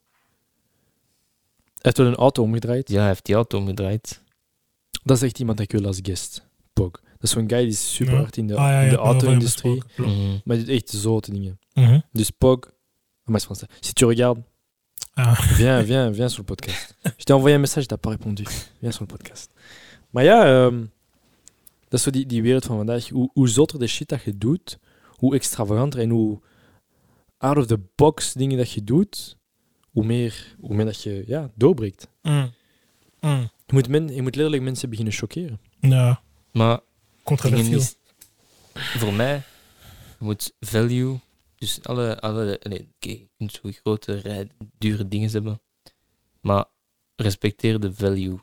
Hij heeft wel een auto omgedraaid.
<laughs> Ja, hij heeft die auto omgedraaid.
Dat is echt iemand dat ik wil als guest. Pog. Dat is zo'n guy die is super
Ja.
hard in de,
Ah, ja,
in
ja,
de
ik heb wel van hem
auto-industrie.
gesproken, klopt.
Mhm.
Maar die doet echt zote dingen.
Mhm.
Dus Pog. Ah, maar c'est français. Si tu regardes,
Ah.
<laughs> viens, viens, viens sur le podcast. Je t'ai envoyé un message, t'as pas répondu. Viens sur le podcast. Maar ja, ehm, dat is zo die, die wereld van vandaag. Hoe, hoe zotter de shit dat je doet, hoe extravaganter en hoe out of the box dingen dat je doet, hoe meer, hoe meer dat je ja, doorbreekt.
Mm. Mm.
Je moet, men, je moet letterlijk mensen beginnen choqueren.
Ja,
Maar dingen
controversieel.
is- voor mij je moet value, dus alle, alle nee, oké, je kunt zo grote, rij- dure dingen hebben, maar respecteer de value.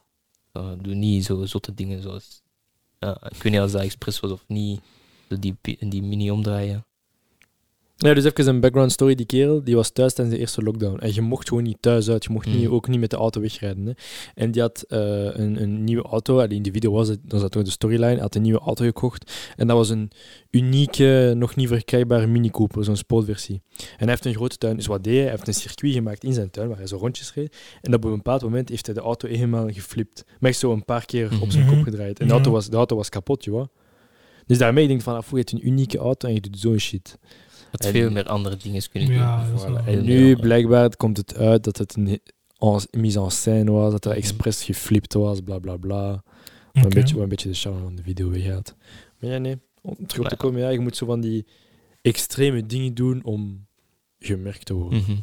Uh, doe niet zo zotte dingen zoals, ja, ik weet niet als dat expres was of niet, zo die, pi- die mini omdraaien.
Ja, dus even een background story. Die kerel die was thuis tijdens de eerste lockdown. En je mocht gewoon niet thuis uit. Je mocht niet,
Hmm.
Mm.
ook niet met de auto wegrijden. Hè. En die had eh, een, een nieuwe auto. Allee, in de video was het, dat zat ook de storyline. Hij had een nieuwe auto gekocht. En dat was een unieke, nog niet verkrijgbare Mini Cooper. Zo'n sportversie. En hij heeft een grote tuin. Dus wat deed hij? Hij heeft een circuit gemaakt in zijn tuin waar hij zo rondjes reed. En op een bepaald moment heeft hij de auto helemaal geflipt. Maar echt zo een paar keer op zijn
Mhm.
kop gedraaid. En de,
Ja.
auto was, de auto was kapot, joh. Dus daarmee denk ik van, ah, foei, je hebt een unieke auto en je doet zo'n shit.
Had
En-
veel meer andere dingen kunnen doen.
Ja, dat is
Voilà.
wel-
En
Ja.
nu blijkbaar komt het uit dat het een he- en- mise en scène was, dat er expres geflipt was, bla bla bla. Wat,
Mhm. Oké.
een beetje, wat een beetje de charme van de video weghaalt. Maar ja, nee. Om terug op te
Maar-
komen, ja, je moet zo van die extreme dingen doen om gemerkt te worden.
Mhm.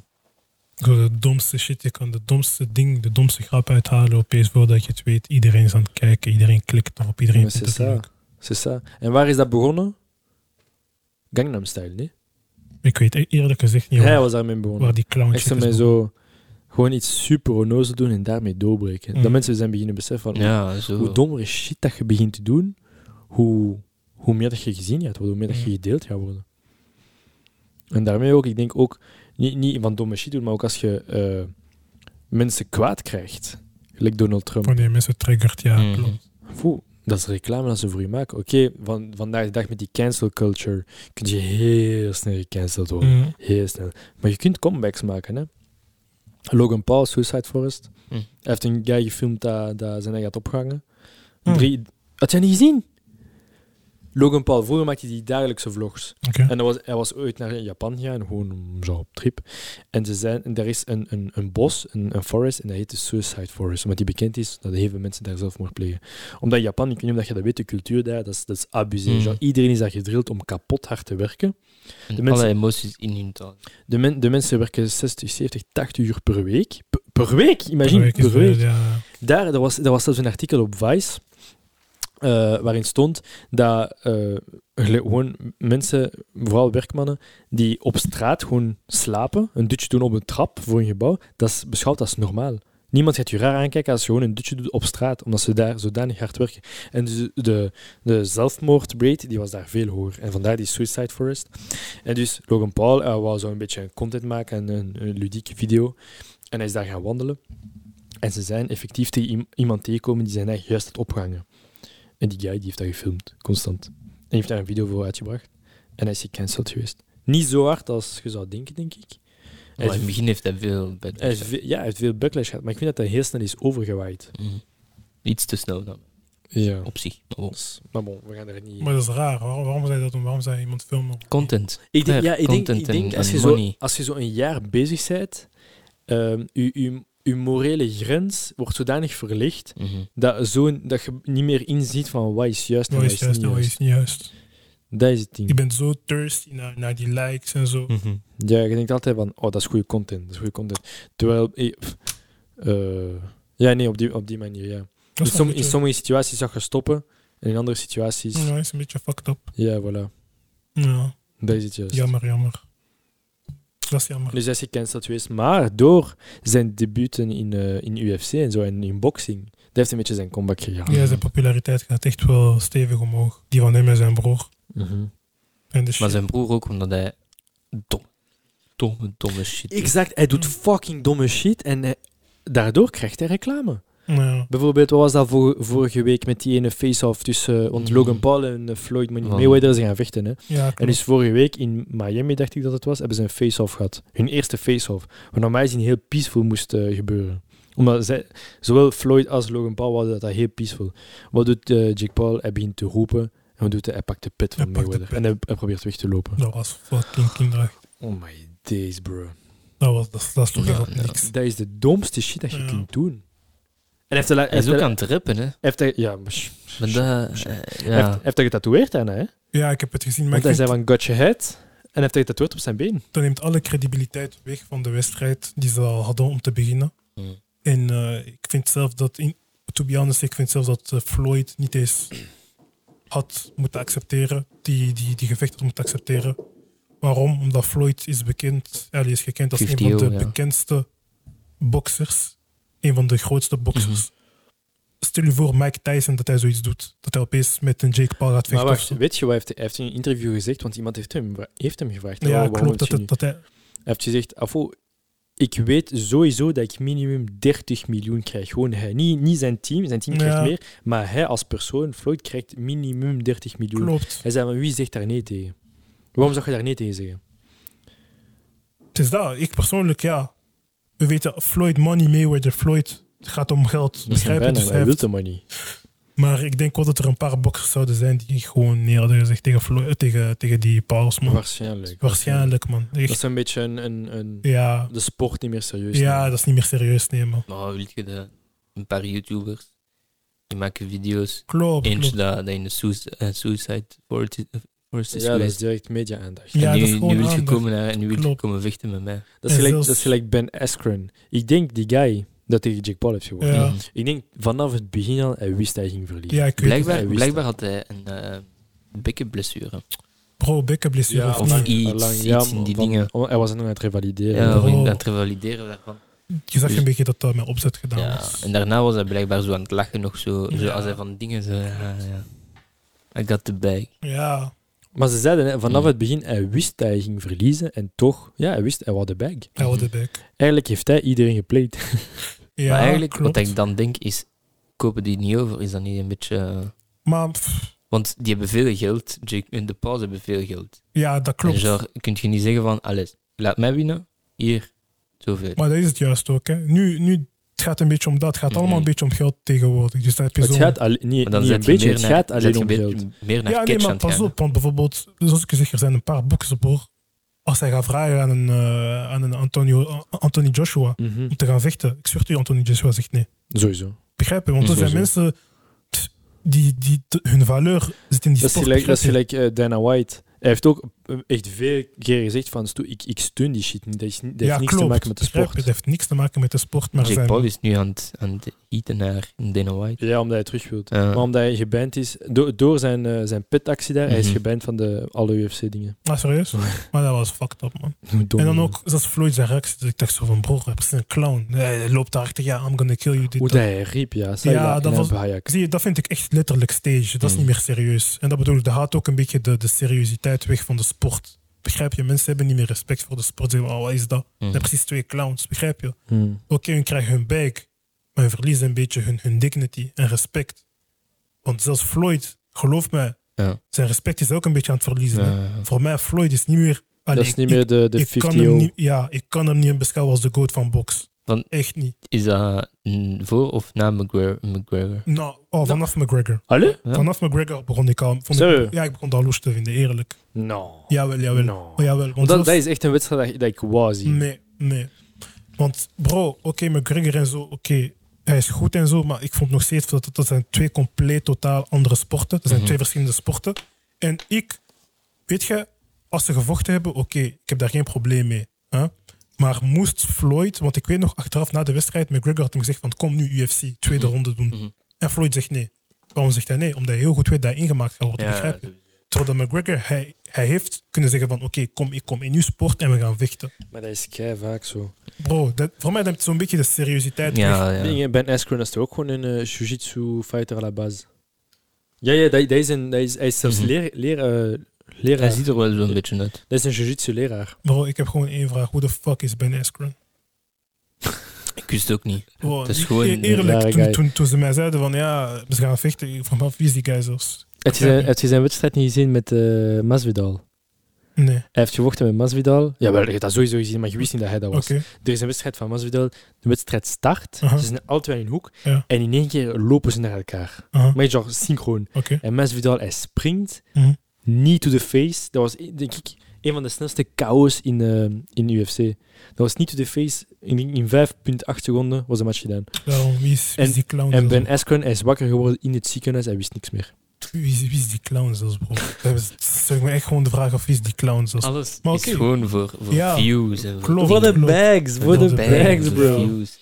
Zo de domste shit, je kan de domste ding, de domste grap uithalen opeens voordat je het weet. Iedereen is aan het kijken, iedereen klikt erop, iedereen
Maar
vindt
c'est
het
ça.
leuk.
C'est ça. En waar is dat begonnen? Gangnam Style, nee?
Ik weet e- eerlijk gezegd niet
Hij
waar,
was daarmee begonnen.
waar die clown
Echt
shit
zo
is
met
begonnen.
zo gewoon iets super onnozel doen en daarmee doorbreken.
Mm.
Dat mensen zijn beginnen beseffen van
Ja, zo.
hoe dommere shit dat je begint te doen, hoe, hoe meer dat je gezien gaat worden, hoe meer dat je
Mm.
gedeeld gaat worden. En daarmee ook, ik denk ook, niet, niet van domme shit doen, maar ook als je eh, mensen kwaad krijgt. Like Donald Trump.
Wanneer mensen triggert, ja,
Mm.
Mhm.
klopt.
Oeh, dat is reclame dat ze voor je maken. Oké, van, vandaag de dag met die cancel culture kun je heel snel gecanceld worden.
Mhm.
Heel snel. Maar je kunt comebacks maken, hè. Logan Paul, Suicide Forest.
Hm.
Hij heeft een guy gefilmd dat, dat zijn eigen had opgehangen.
Hm.
Drie... Had jij niet gezien? Logan Paul, vroeger maakte hij die dagelijkse vlogs.
Oké.
En hij was, hij was ooit naar Japan gegaan, gewoon om zo op trip. En ze zijn, en er is een, een, een bos, een, een forest, en dat heet de Suicide Forest. Omdat die bekend is, dat heel veel mensen daar zelfmoord plegen. Omdat in Japan, ik weet niet of je dat weet, de cultuur daar, dat is, dat is abusé.
Hm.
Zo, Iedereen is daar gedrild om kapot hard te werken.
En
de mensen-
Alle emoties in hun taal.
De, men- de mensen werken 60, 70, 80 uur per week. P- per week, imagine, per
Druk
week.
is wel, ja.
Daar, er, was, er was zelfs een artikel op Vice, eh, waarin stond dat eh, gele- gewoon mensen, vooral werkmannen, die op straat gewoon slapen, een dutje doen op een trap voor een gebouw, dat is beschouwd als normaal. Niemand gaat je raar aankijken als je gewoon een dutje doet op straat, omdat ze daar zodanig hard werken. En dus de, de zelfmoordrate die was daar veel hoger. En vandaar die Suicide Forest. En dus Logan Paul eh, wou zo een beetje content maken, en een, een ludieke video. En hij is daar gaan wandelen. En ze zijn effectief tegen iem- iemand tegenkomen die zijn eigen juist had opgehangen. En die guy die heeft dat gefilmd, constant. En die heeft daar een video voor uitgebracht. En hij is gecanceld geweest. Niet zo hard als je zou denken, denk ik. Hij
Maar
is
in het begin heeft hij veel
hij heeft,
backlash.
ve- ja, hij heeft veel backlash gehad, maar ik vind dat hij heel snel is overgewaaid.
Mhm. Iets te snel dan,
Ja.
op zich. Maar bon.
Maar bon, we gaan er niet...
Maar dat is raar, waarom, waarom zou je dat doen? Waarom zou je iemand filmen?
Content.
Ik denk,
Claire,
ja, ik denk,
content
ik denk
en-
als,
en
je zo,
money.
als je zo een jaar bezig bent, ehm je, je, je morele grens wordt zodanig verlicht
Mhm.
dat, zo, dat je niet meer inziet van wat is juist en
Nou
wat
is
is
juist,
niet
nou
juist. Mm.
is niet juist.
Dat is het
Je
ding.
bent zo thirsty naar, naar die likes en zo.
Mhm.
Ja, je denkt altijd van, oh, dat is goede content, dat is goede content. Terwijl, eh, pff, eh, ja, nee, op die, op die manier, ja.
Dat
In,
is
som-
een
in
beetje,
sommige situaties zag je stoppen, en in andere situaties,
ja, is een beetje fucked up.
ja, voilà.
Ja,
Dat is het juist.
jammer, jammer. Dat is jammer.
Dus hij is gecanceld geweest. Maar door zijn debuten in, eh, in UFC en zo en in boxing, dat heeft een beetje zijn comeback gegaan.
Ja, zijn populariteit gaat echt wel stevig omhoog. Die van hem en zijn broer.
Mhm.
En de shit.
Maar zijn broer ook, omdat hij dom, domme, domme shit doet.
Exact, hij doet fucking domme shit en hij- daardoor krijgt hij reclame.
Ja.
Bijvoorbeeld, wat was dat vor- vorige week met die ene face-off tussen... eh, Want
Mhm.
Logan Paul en eh, Floyd
Van-
Mayweather zijn gaan vechten, hè.
Ja,
En
klopt.
dus vorige week in Miami, dacht ik dat het was, hebben ze een face-off gehad. Hun eerste face-off. Wat naar mij zien heel peaceful moest eh, gebeuren. Omdat zij, zowel Floyd als Logan Paul hadden dat, dat heel peaceful. Wat doet eh, Jake Paul? Hij begint te roepen. En wat doet hij? Hij pakt de pit van
Hij pakt de
Mayweather.
pit.
En hij, hij probeert weg te lopen.
Dat was fucking kinderachtig.
Oh my days, bro.
Dat was, dat, dat is toch
Ja,
echt
ja.
niks.
Dat is de domste shit dat je
Ja.
kunt doen. En hij heeft, de la-
Hij is
heeft
ook
de-
aan het rappen, hè.
heeft hij- ja, maar sh-
Maar
sh-
dat,
shit.
eh,
hij heeft,
ja.
heeft hij getatoeëerd daarna, hè?
Ja, ik heb het gezien, maar
Want
ik
hij
vind,
zei van, got your head. En hij heeft hij getatoeëerd op zijn been.
dat neemt alle credibiliteit weg van de wedstrijd die ze al hadden om te beginnen.
Mm.
En eh, ik vind zelf dat, in, to be honest, ik vind zelf dat eh, Floyd niet eens had moeten accepteren, die, die, die gevecht had moeten accepteren. Waarom? Omdat Floyd is bekend, hij is gekend als een
50
van de
ja.
bekendste boxers, een van de grootste boxers.
Mhm.
Stel je voor Mike Tyson dat hij zoiets doet, dat hij opeens met een Jake Paul gaat
Maar
vechten.
wacht,
of zo.
weet je wat hij heeft, hij heeft in een interview gezegd? Want iemand heeft hem, heeft hem gevraagd. "Oh,
ja,
waarom
klopt.
heb
Dat,
je
het-
nu-"
dat hij,
Hij heeft gezegd, afo, ik weet sowieso dat ik minimum 30 miljoen krijg. Gewoon hij. Niet, niet zijn team, zijn team
Ja.
krijgt meer. Maar hij als persoon, Floyd, krijgt minimum 30 miljoen.
klopt.
Hij zei, van wie zegt daar nee tegen? Waarom zou je daar nee tegen zeggen?
Het is dat. Ik persoonlijk, ja. We weten, Floyd Money Mayweather, Floyd, het gaat om geld.
Dat is
Begrijp je?
bijna,
Dus
hij
hij
wil
heeft-
de money.
Maar ik denk wel dat er een paar boxers zouden zijn die gewoon neer hadden gezegd tegen, Floyd, eh, tegen, tegen die Pauls, man.
Waarschijnlijk.
Hm. Waarschijnlijk, man. Echt,
Dat is een beetje een, een, een-
ja,
de sport niet meer serieus
ja,
nemen.
dat is niet meer serieus nemen.
Maar wil je de, een paar YouTubers Die maken video's.
Klopt.
Eentje
klopt.
dat dat in de suic- eh, Suicide Forest is
Ja, dat is
geweest.
direct media-aandacht.
Ja,
en
dat is
nu,
gewoon
nu wil je
aandacht.
komen naar en nu wil je
Klopt.
komen vechten met mij.
Dat is
En
gelijk,
zelfs-
dat is gelijk Ben Askren. Ik denk die guy dat tegen Jack Paul heeft gewonnen.
Ja.
Mhm.
Ik denk vanaf het begin al, hij wist dat hij ging verliezen.
Ja, ik weet het.
Blijkbaar,
Hij wist
blijkbaar had hij een eh bekkenblessure.
Bro, bekkenblessure
Ja,
of
Of
maar-
niet.
iets,
Allang-
iets
ja,
in die
want-
dingen.
want Hij was nog aan het revalideren.
Ja,
bro.
om dat te valideren daarvan.
Je zag
Dus-
een beetje dat dat met opzet gedaan
Ja,
was.
en daarna was hij blijkbaar zo aan het lachen nog zo, zo
Ja.
als hij van dingen zo. Ja, ja. I got the bag.
Ja,
Maar ze zeiden hè, vanaf
Hmm.
het begin, hij wist dat hij ging verliezen. En toch, ja, hij wist, hij wou de bag.
hij had de bek.
Eigenlijk heeft hij iedereen geplayed.
Ja,
Mhm. maar eigenlijk,
klopt.
wat ik dan denk is: kopen die niet over? Is dat niet een beetje. eh,
Maar pff,
want die hebben veel geld. Jake en de Pauze hebben veel geld.
ja, dat klopt.
En genre, kun je niet zeggen van: alles, laat mij winnen. Hier, zoveel.
Maar dat is het juist ook. Hè. Nu, nu het gaat een beetje om dat. Het gaat allemaal
Mhm.
een beetje om geld tegenwoordig. Dus dat heb je
Het
zo...
gaat alleen, niet,
Maar dan
niet
zet
een
je
beetje,
meer
het
naar-
gaat
zet
alleen
je
om
een
geld.
beetje Meer naar
ja, nee,
catch aan
maar
het
pas
gaan,
op. Want bijvoorbeeld, zoals ik zeg, er zijn een paar boekers op hoor. Als hij gaat vragen aan een, eh, aan een Antonio, A- Anthony Joshua
Mhm.
om te gaan vechten. Ik zweer het u, Anthony Joshua zegt nee.
Sowieso.
Begrijp je? Want er
Mhm.
zijn mensen pff, die, die te- hun valeur zit in die
Dat is
sport.
gelijk, dat is
begrijp je?
gelijk eh, Dana White. Hij heeft ook eh, echt veel keer gezegd van, "Stu- ik, ik steun die shit niet. Dat, is, niet- dat heeft niks te maken met de
Begrijp je?
sport.
Dat heeft niks te maken met de sport. Maar
hè. Jake
zijn...
Paul is nu aan het, aan het eten naar Dana White.
Ja, omdat hij terug wil.
Eh,
Maar omdat hij geband is, door door zijn, eh, zijn pitactie daar, hij is
Mhm.
geband van de, alle UFC-dingen.
Ah, serieus? maar dat was fucked up, man. En dan ook, zoals Floyd zijn reactie, dus ik dacht zo van, bro, hij is een clown. Hij hij loopt daar achter, ja, I'm gonna kill you. Dit,
Hoe
dat.
dat hij riep, ja. Ja, dat was... Hayek.
Zie je, dat vind ik echt letterlijk stage. Dat is
Mm.
Hmm.
niet meer serieus. En dat bedoel ik, dat haalt ook een beetje de, de seriositeit weg van de sport. Begrijp je? Mensen hebben niet meer respect voor de sport. Ze zeggen, oh, wat is dat? Dat
mhm.
zijn precies twee clowns, begrijp je? Oké,
Hmm.
hun krijgen hun bijk, maar hun verliezen een beetje hun, hun dignity en respect. Want zelfs Floyd, geloof mij,
Ja.
zijn respect is ook een beetje aan het verliezen. hè.
Ja.
Voor mij, Floyd is niet meer...
Dat
Allee,
is
ik-
niet meer de, de
ik kan hem
50
niet, ja, ik kan hem niet in beschouwen als de goat van box.
Van-
Echt niet.
Is dat mm, voor of na McGregor? McGregor?
Nou, oh, vanaf McGregor.
Allee?
Ja.
Vanaf McGregor begon ik al. Vond
Zo.
ik, ja, ik begon daar loes te vinden, eerlijk.
No.
Jawel, jawel.
No.
Oh, jawel want
Nou. Want dat,
zelfs-
dat is echt een wedstrijd dat, dat ik wou zien.
Nee, nee. Want bro, oké, McGregor en zo, oké, hij is goed en zo, maar ik vond nog steeds dat dat zijn twee compleet totaal andere sporten. Dat zijn
Mhm.
twee verschillende sporten. En ik, weet je, als ze gevochten hebben, oké, ik heb daar geen probleem mee. Hè? Maar moest Floyd, want ik weet nog achteraf na de wedstrijd, McGregor had hem gezegd van kom nu UFC, tweede ronde doen.
Mhm.
En Floyd zegt nee. Waarom zegt hij nee? Omdat hij heel goed weet dat hij ingemaakt gaat worden. begrijp je? Terwijl dat McGregor, hij, hij heeft kunnen zeggen van oké, kom, ik kom in uw sport en we gaan vechten.
Maar dat is kei vaak zo.
Bro, dat, voor mij neemt het zo'n beetje de seriositeit weg.
ja,
Ding,
ja.
hè, Ben Askren is toch ook gewoon een eh, jiu-jitsu fighter à la base. Ja, ja, dat, dat is een, dat is, hij is zelfs
Mhm.
leer, leer, eh, leraar.
Hij ziet er wel zo'n beetje uit.
Dat is een jiu-jitsu leraar.
Bro, ik heb gewoon één vraag. Hoe de fuck is Ben Askren?
Ik wist het ook niet.
Bro,
Het is
ik-
gewoon
e-
een
eerlijk,
rare
toen,
guy.
toen, toen ze mij zeiden van ja, ze gaan vechten, ik vroeg me af, wie is die guy zelfs?
Heb je zijn, heb je zijn wedstrijd niet gezien met eh, Masvidal?
Nee,
Hij heeft gevochten met Masvidal. Ja, wel, je hebt dat sowieso gezien, maar je wist niet dat hij dat
oké.
was. Er is een wedstrijd van Masvidal. De wedstrijd start.
Aha.
Ze zijn altijd in een hoek.
Ja.
En in één keer lopen ze naar elkaar.
aha,
Maar genre synchroon.
Oké.
En Masvidal, hij springt.
Mhm.
Niet to the face. Dat was, denk ik, een van de snelste KO's in, eh, in UFC. Dat was niet to the face. In, in 5,8 seconden was de match gedaan.
Daarom, wie is, wie is
En-
die clown
En
zelfs?
Ben Askren, hij is wakker geworden in het ziekenhuis. Hij wist niks meer.
Wie, is, wie is die clown zelfs, bro? Dat hebben ze- Stel ik me echt gewoon de vraag af, wie is die clown zelfs?
Alles
Maar
is
oké.
gewoon voor, voor
Ja,
views. En
Voor
klopt.
de
Voor de
bags, voor
voor
de
de bags,
bags,
voor
bro.
views.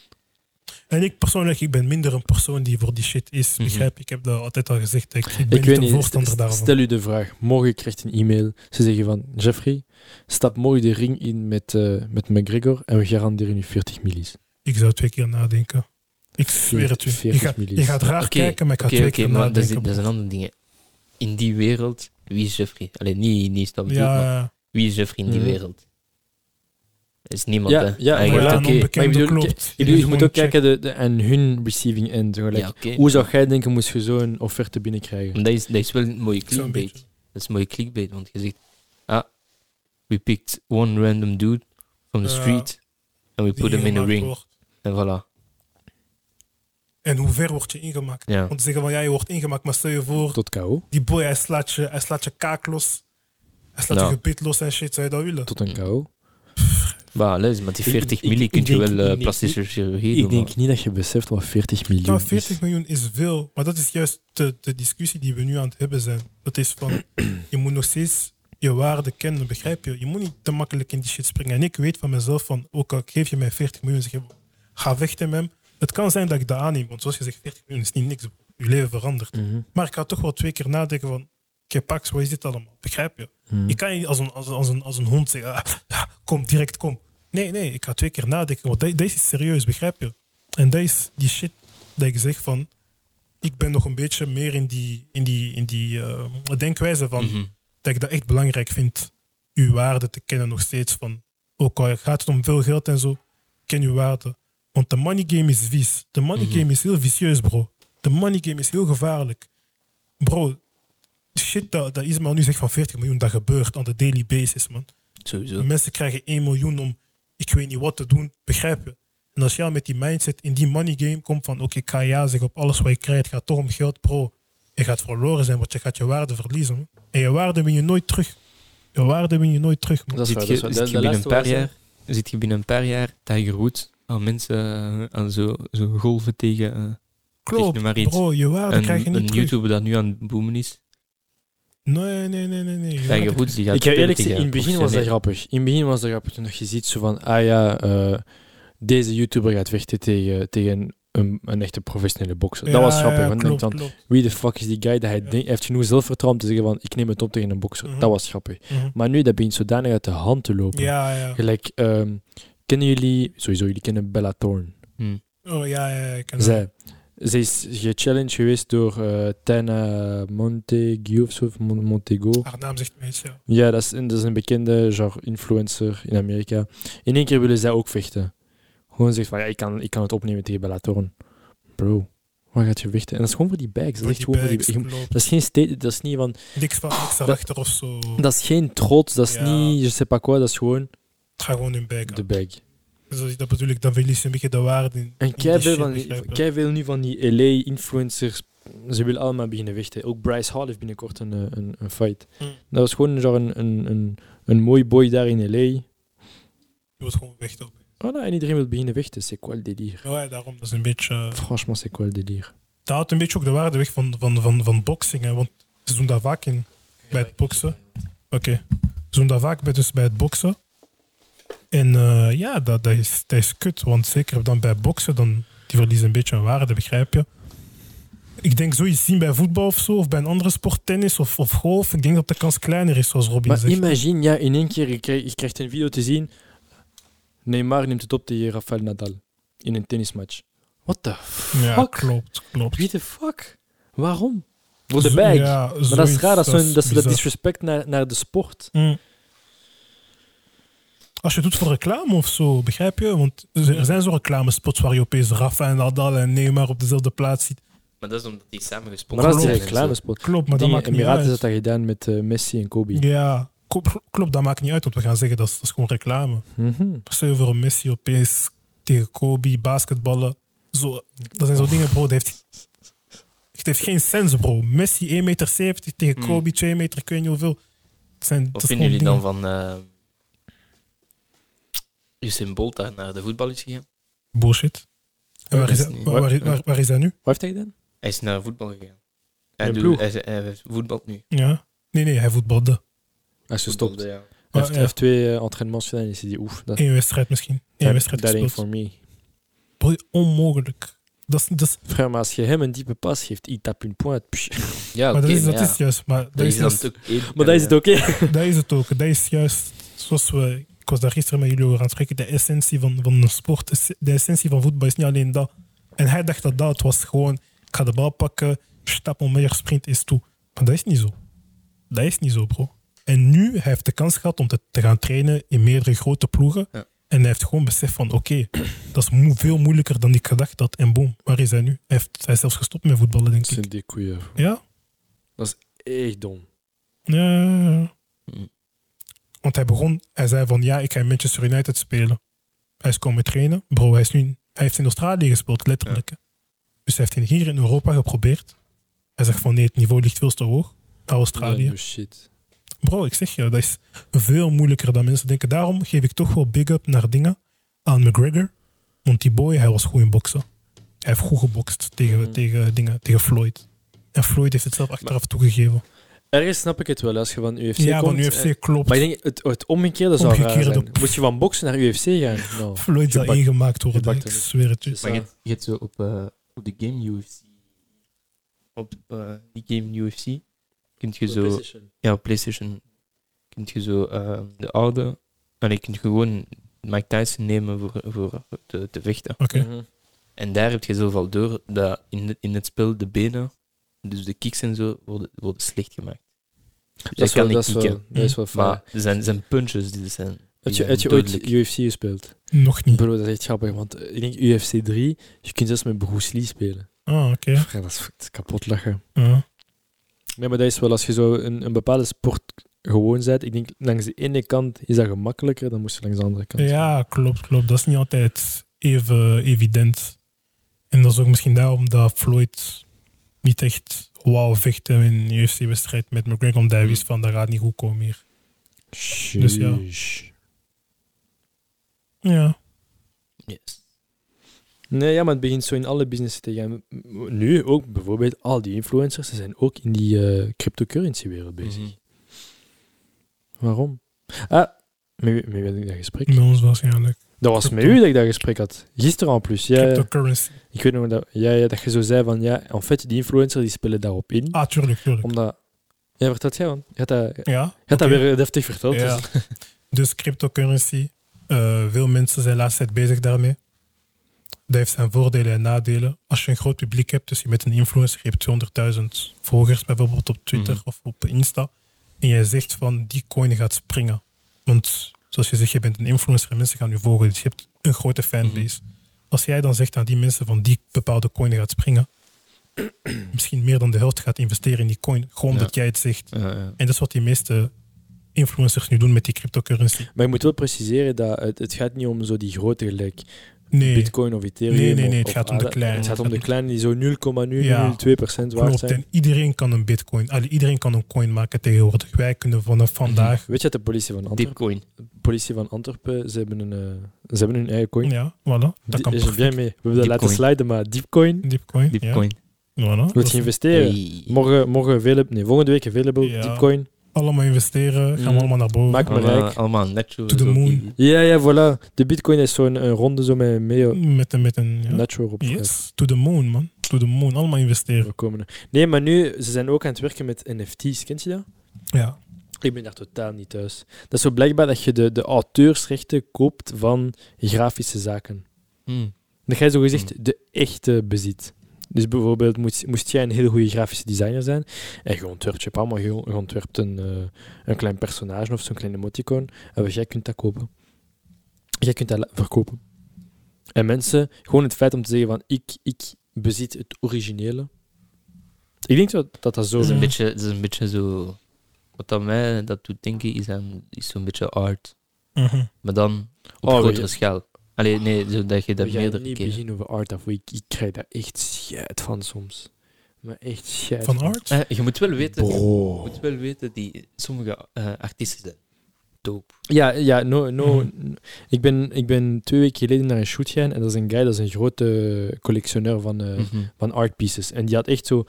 En ik persoonlijk, ik ben minder een persoon die voor die shit is,
Mhm.
begrijp je? Ik heb dat altijd al gezegd, ik, ik ben
Ik
niet
weet
een
niet,
voorstander
st-
daarvan.
stel u de vraag. Morgen krijgt een e-mail. Ze zeggen van, Jeffrey, stap morgen de ring in met, eh, met McGregor en we garanderen u 40 millies.
Ik zou twee keer nadenken. Ik zweer het u. Je
40
gaat,
miljoen.
je gaat raar
Oké,
kijken, maar ik ga
Oké,
twee
oké,
keer
maar dat, is,
nadenken.
dat zijn andere dingen. In die wereld, wie is Jeffrey? Alleen niet, niet snap ik
ja,
maar wie is Jeffrey in die
Mhm.
wereld? Er is niemand,
Ja,
hè?
ja,
Hij
maar
wordt
ja,
oké.
een onbekende maar ik bedoel,
klopt.
Ik bedoel, je moet ook kijken de, de- aan hun receiving end. Gelijk.
Ja, oké.
Hoe zou jij denken, moest je zo'n offerte binnenkrijgen?
Maar dat is, dat is wel een mooie
Zo'n
clickbait.
beetje.
Dat is een mooie clickbait, want je zegt... Ah, we picked one random dude from the
Ja.
street and we put him in a ring. En voilà.
En hoe ver word je ingemaakt?
Ja.
Want ze zeggen van ja, je wordt ingemaakt, maar stel je voor,
Tot KO?
die boy, hij slaat je, hij slaat je kaak los. Hij slaat
Nou.
je gebit los en shit, zou je dat willen?
Tot een KO?
Bah, allez, met die
Ik-
40
ik-
milli
ik
kun je
denk
wel eh,
niet-
plastische chirurgie
Ik
doen.
denk niet dat je beseft wat 40 miljoen
Nou,
is.
40 miljoen is veel, maar dat is juist de, de discussie die we nu aan het hebben zijn. Dat is van, je moet nog steeds je waarde kennen, begrijp je? Je moet niet te makkelijk in die shit springen. En ik weet van mezelf van, ook al geef je mij 40 miljoen, zeg je, ga vechten met hem. Het kan zijn dat ik dat aanneem, want zoals je zegt, 40 miljoen is niet niks. Je leven verandert.
Mhm.
Maar ik ga toch wel twee keer nadenken van, oké, Pax, wat is dit allemaal? Begrijp je?
Mhm.
Ik kan niet als een, als een, als een, als een hond zeggen, "Ah, ah, kom, direct, kom. Nee, nee, ik ga twee keer nadenken, want dat, dat is iets serieus, begrijp je? En dat is die shit dat ik zeg van, ik ben nog een beetje meer in die, in die, in die eh, denkwijze van,
Mhm.
dat ik dat echt belangrijk vind, uw waarde te kennen nog steeds. Van, ook al gaat het om veel geld en zo, ken uw waarde. Want de money game is vies. De money
Mhm.
game is heel vicieus, bro. De money game is heel gevaarlijk. Bro, shit dat, dat Ismael nu zegt van 40 miljoen, dat gebeurt on a daily basis, man.
Sowieso.
Mensen krijgen 1 miljoen om ik weet niet wat te doen, begrijp je? En als jij al met die mindset in die money game komt van oké, ik ga ja zeggen op alles wat je krijgt, het gaat toch om geld, pro. Je gaat verloren zijn, want je gaat je waarde verliezen. man. En je waarde win je nooit terug. Je waarde win je nooit terug, man.
Dat is
Zit
waar,
je,
dat is waar.
zit
De-
je
de
binnen een
laatste
paar
was,
jaar, zit je binnen een paar jaar tigerwood aan mensen eh, aan zo, zo golven tegen, eh, tegen
Klopt,
maar iets.
bro, je waarde krijg
een
je
een
niet terug.
YouTuber dat nu aan het boomen is,
Nee, nee, nee, nee. nee. Je waarde-
tigerwood, die gaat
Ik heb eerlijk
spelen
gezegd, in het
tegen
begin was dat
professioneel.
grappig. In het begin was dat grappig toen je ziet zo van, ah ja, eh, deze YouTuber gaat vechten tegen, tegen een, een echte professionele bokser. dat was
Ja,
grappig.
ja,
want ik denk
klopt,
dan,
klopt.
wie de fuck is die guy dat hij
Ja.
denkt, hij heeft genoeg zelfvertrouwen om te zeggen van, ik neem het op tegen een bokser.
Mhm.
Dat was grappig.
Mhm.
Maar nu, dat begint zodanig uit de hand te lopen.
Ja, ja.
Gelijk, ehm, kennen jullie, sowieso, jullie kennen Bella Thorne.
Hm.
Oh, ja, ja, ja. ik ken dat.
Zij. Ze is gechallenged geweest door eh Tana Montague of zo, of Mon- Montego.
Haar naam zegt me iets, ja.
Ja, dat is, een- dat is een bekende genre influencer in Amerika. In één keer willen zij ook vechten. Gewoon zegt van, ja, ik kan, ik kan het opnemen tegen Bellator. Bro, waar gaat je vechten? En dat is gewoon voor die bags. Dat is echt
Voor
gewoon
die
voor die
bags,
je-
klopt.
Dat is geen state, dat is niet van,
Niks van niks daarachter of zo.
dat is geen trots, dat is
Ja.
niet, je sais pas quoi, dat is gewoon
Het gaat gewoon hun bek
de bag.
Dus dat bedoel ik, dan verlies je een beetje de waarde in.
En
in die
kei veel,
shit,
van,
begrijp je?
kei veel nu van die LA-influencers, ze willen allemaal beginnen vechten. Ook Bryce Hall heeft binnenkort een, eh, een, een fight.
Mm.
Dat was gewoon zo een, een, een, een mooi boy daar in LA.
Je wordt gewoon weg. Op.
Voilà, nou, en iedereen wil beginnen vechten. C'est quoi le délire?
Ja, daarom, dat is een beetje... eh,
Franchement, c'est quoi le délire?
dat houdt een beetje ook de waarde weg van, van, van, van boxing, hè, want ze doen dat vaak in, bij het boksen. Oké. Ze doen dat vaak bij, dus bij het boksen. En eh, ja, dat, dat, is, dat is kut, want zeker dan bij boksen, dan, die verliezen een beetje hun waarde, begrijp je? Ik denk zoiets zien bij voetbal of zo, of bij een andere sport, tennis of, of golf. Ik denk dat de kans kleiner is, zoals Robin
Maar
zegt.
Bah, imagine, ja, in één keer, je krijgt, je krijgt een video te zien. Neymar neemt het op tegen Rafael Nadal in een tennismatch. What the fuck?
Ja, klopt, klopt.
Wie de fuck? Waarom? Voor de
Zo-
bag.
ja,
maar dat is
zoiets,
raar, dat, ze hun- dat ze dat
bizar.
disrespect naar, naar de sport.
Mm. Als je het doet voor reclame of zo, begrijp je? Want er zijn zo reclamespots waar je opeens Rafa en Nadal en Neymar op dezelfde plaats ziet.
Maar dat is omdat die samen
Maar
gesponsord
dat is dus een
zijn en zo.
reclamespot.
Klopt, maar dat
Die
maakt niet
Emiraten
uit.
is dat gedaan met eh, Messi en Kobe.
Ja, kop- klopt, dat maakt niet uit, want we gaan zeggen dat is, dat is gewoon reclame.
Mhm.
Stel je voor een Messi opeens tegen Kobe, basketballen. Zo, dat zijn zo dingen, bro. Dat heeft, het heeft geen sens, bro. Messi 1,70 meter tegen
Mm.
Kobe 2 meter, ik weet niet hoeveel. Het zijn, dat
Wat
is
vinden
gewoon
jullie dan
dingen.
van eh Usain Bolt daar naar de voetbal is gegaan?
Bullshit. En waar
Dat
is,
is
dat-
niet-
waar, waar, waar- waar is dat nu?
Wat heeft hij gedaan?
Hij is naar voetbal gegaan.
Met
Hij, doet,
ploeg?
hij, hij, heeft voetbal nu.
Ja. Nee, nee, hij voetbalde.
Hij is gestopt. Hij
Voetbalde, ja.
heeft,
Ah,
hij
ja.
heeft twee eh, entraînements gedaan en is hij die oef. Dat,
Eén wedstrijd misschien. Eén wedstrijd
dat ain't
gespeeld.
for me.
Broer, onmogelijk. Dat is, dat is,
Frère, maar als je hem een diepe pas geeft, il tape une pointe. Psh.
Ja,
maar dat,
oké,
is, dat
ja.
is juist. Maar dat,
Dat is
is,
dan
juist-
ook één-
Maar dat is het ook, hè?
<laughs> dat is het ook. Dat is juist zoals we. Ik was daar gisteren met jullie over aan het spreken. De essentie van, van een sport, is- de essentie van voetbal is niet alleen dat. En hij dacht dat dat het was gewoon. Ik ga de bal pakken, stap omhoog, sprint is toe. Maar dat is niet zo. Dat is niet zo, bro. En nu hij heeft de kans gehad om te, te gaan trainen in meerdere grote ploegen.
Ja.
En hij heeft gewoon beseft van, oké, <clears throat> dat is mo- veel moeilijker dan ik gedacht had. En boom, waar is hij nu? Hij, heeft, hij is zelfs gestopt met voetballen, denk
Dat is
ik.
een dikke koeien.
Ja,
Echt dom.
Ja, ja, ja.
Mm.
Want hij begon, hij zei van ja, ik ga in Manchester United spelen. Hij is komen trainen. Bro, hij, is nu, hij heeft in Australië gespeeld, letterlijk. hè. Dus hij heeft hier in Europa geprobeerd. Hij zegt van nee, het niveau ligt veel te hoog. Naar Australië.
shit.
Bro, ik zeg je, dat is veel moeilijker dan mensen denken. Daarom geef ik toch wel big up naar dingen aan McGregor. Want die boy, hij was goed in boksen. Hij heeft goed gebokst tegen,
Mhm.
tegen, dingen, tegen Floyd. En Floyd heeft het zelf achteraf toegegeven.
Ergens snap ik het wel als je van UFC
Ja,
komt.
van UFC
eh,
klopt.
Maar ik denk, het, het omgekeerde zou raar
Omgekeerde.
zijn. Moet je van boksen naar UFC
<laughs>
gaan? Nou,
Floyd zou
gepakt-
ingemaakt worden,
gepakt
ik
hebben.
zweer het je.
dus,
Maar
eh,
je hebt- je hebt zo op, eh, op de game UFC. Op eh, die game UFC. Kunt je zo. Ja, op PlayStation. Kunt je zo eh, de oude. En je kunt gewoon Mike Tyson nemen voor, voor te, te vechten.
Oké.
Mhm.
En daar heb je zoveel door dat in, de- in het spel de benen, dus de kicks en zo, worden, worden slecht gemaakt. Dus
Dat
hij
is wel,
kan
dat
niet
is
kicken.
wel, dat is wel fijn.
Maar zijn, zijn punches die zijn. die
Heb je,
zijn
heb je ooit
dodelijk.
UFC gespeeld?
Nog niet.
Bro, dat is echt grappig, want eh, ik denk UFC 3, je kunt zelfs met Bruce Lee spelen.
Ah, oké.
Ja, dat, is, dat is kapot lachen.
Ah.
Nee, maar dat is wel als je zo een, een bepaalde sport gewoon bent. Ik denk, langs de ene kant is dat gemakkelijker, dan moest je langs de andere kant.
Ja, klopt, klopt. Dat is niet altijd even evident. En dat is ook misschien daarom dat Floyd niet echt wou vechten in een UFC-wedstrijd met McGregor.
Hmm.
Omdat hij wist van, dat gaat niet goed komen hier. Dus ja.
Sheesh.
Ja.
Yes.
Nee, ja, maar het begint zo in alle businessen te gaan. M- Nu ook bijvoorbeeld al die influencers, ze zijn ook in die eh, cryptocurrency-wereld bezig.
Mhm.
Waarom? Ah, met wie had ik dat gesprek?
Bij ons waarschijnlijk.
Dat was met
Crypto.
u dat ik dat gesprek had. Gisteren en plus. Ja, ja.
Cryptocurrency.
ik weet nog dat, ja, ja, dat je zo zei van, ja, en fait, die influencers die spelen daarop in.
Ah, tuurlijk, tuurlijk.
Omdat... Ja, vertelt jij, want je had dat, je
Ja.
had dat
oké.
weer deftig verteld.
Ja.
dus-
<laughs> Dus cryptocurrency. eh, veel mensen zijn de laatste tijd bezig daarmee. Dat heeft zijn voordelen en nadelen. Als je een groot publiek hebt, dus je bent een influencer, je hebt 200.000 volgers bijvoorbeeld op Twitter
Mhm.
of op Insta. En jij zegt van die coin gaat springen. Want zoals je zegt, je bent een influencer en mensen gaan je volgen. Dus je hebt een grote fanbase.
Mhm.
Als jij dan zegt aan die mensen van die bepaalde coin gaat springen, <clears throat> misschien meer dan de helft gaat investeren in die coin. Gewoon
Ja.
omdat jij het zegt.
Ja, ja.
En dat is wat die meeste influencers nu doen met die cryptocurrency.
Maar ik moet wel preciseren dat het, het gaat niet om zo die grote gelijk
Nee,
Bitcoin of Ethereum.
Nee, nee, nee,
of-
het
of
gaat om de
ADA.
kleine.
Het gaat om de kleine die zo 0,002%
Ja.
waard
klopt.
zijn.
En iedereen kan een bitcoin. Allee, iedereen kan een coin maken tegenwoordig. Wij kunnen vanaf
Mhm.
vandaag.
Weet je dat de politie van Antwerpen,
Dipcoin.
politie van Antwerpen ze, hebben een, eh, ze hebben hun eigen coin.
Ja, voilà. Dat
Die-
kan
is er
perfect.
bien mee. We hebben dat laten
Deepcoin.
sliden, maar Deepcoin,
Dipcoin. Ja,
Dipcoin.
voilà.
wil
Dat
je
is-
investeren? Morgen, morgen available, nee, volgende week available,
Ja.
Deepcoin.
Allemaal investeren. Gaan
Mm.
we allemaal naar boven.
Maak me
Allemaal,
rijk.
allemaal netto.
To the
zo
moon.
die-
Ja, ja, voilà. De Bitcoin is zo'n eh, ronde zo met Meo.
Met een... Met een ja.
Natural op.
Yes, to the moon, man. To the moon. Allemaal investeren.
We komen er. Nee, maar nu, ze zijn ook aan het werken met NFT's, kent je dat?
Ja.
Ik ben daar totaal niet thuis. Dat is zo blijkbaar dat je de, de auteursrechten koopt van grafische zaken.
Hmm.
Dat jij zo gezegd de echte bezit. Dus bijvoorbeeld moest, moest jij een heel goede grafische designer zijn en je ontwerpt, je hebt allemaal, je je ontwerpt een, eh, een klein personage of zo'n klein emoticon en jij kunt dat kopen. Jij kunt dat la- verkopen. En mensen, gewoon het feit om te zeggen van ik, ik bezit het originele. Ik denk dat dat, dat zo
Dat, is een
Ja.
beetje, dat is een beetje zo. Wat dat mij dat doet denken is, aan- is zo'n beetje art.
Mhm.
Maar dan op
Oh,
grotere
ja.
schaal. Allee, nee, zodat je dat
We gaan
meerdere
niet
keren.
beginnen over art af. Ik, ik krijg daar echt shit van soms. Maar echt shit.
Van art?
Eh, je moet wel weten, je
Bro.
moet wel weten die sommige eh, artiesten zijn dope.
Ja, ja no, no,
Mhm.
n- ik, ben, ik ben twee weken geleden naar een shoot gegaan en dat is een guy, dat is een grote collectioneur van, eh,
Mhm.
Mhm.
van art pieces. En die had echt zo,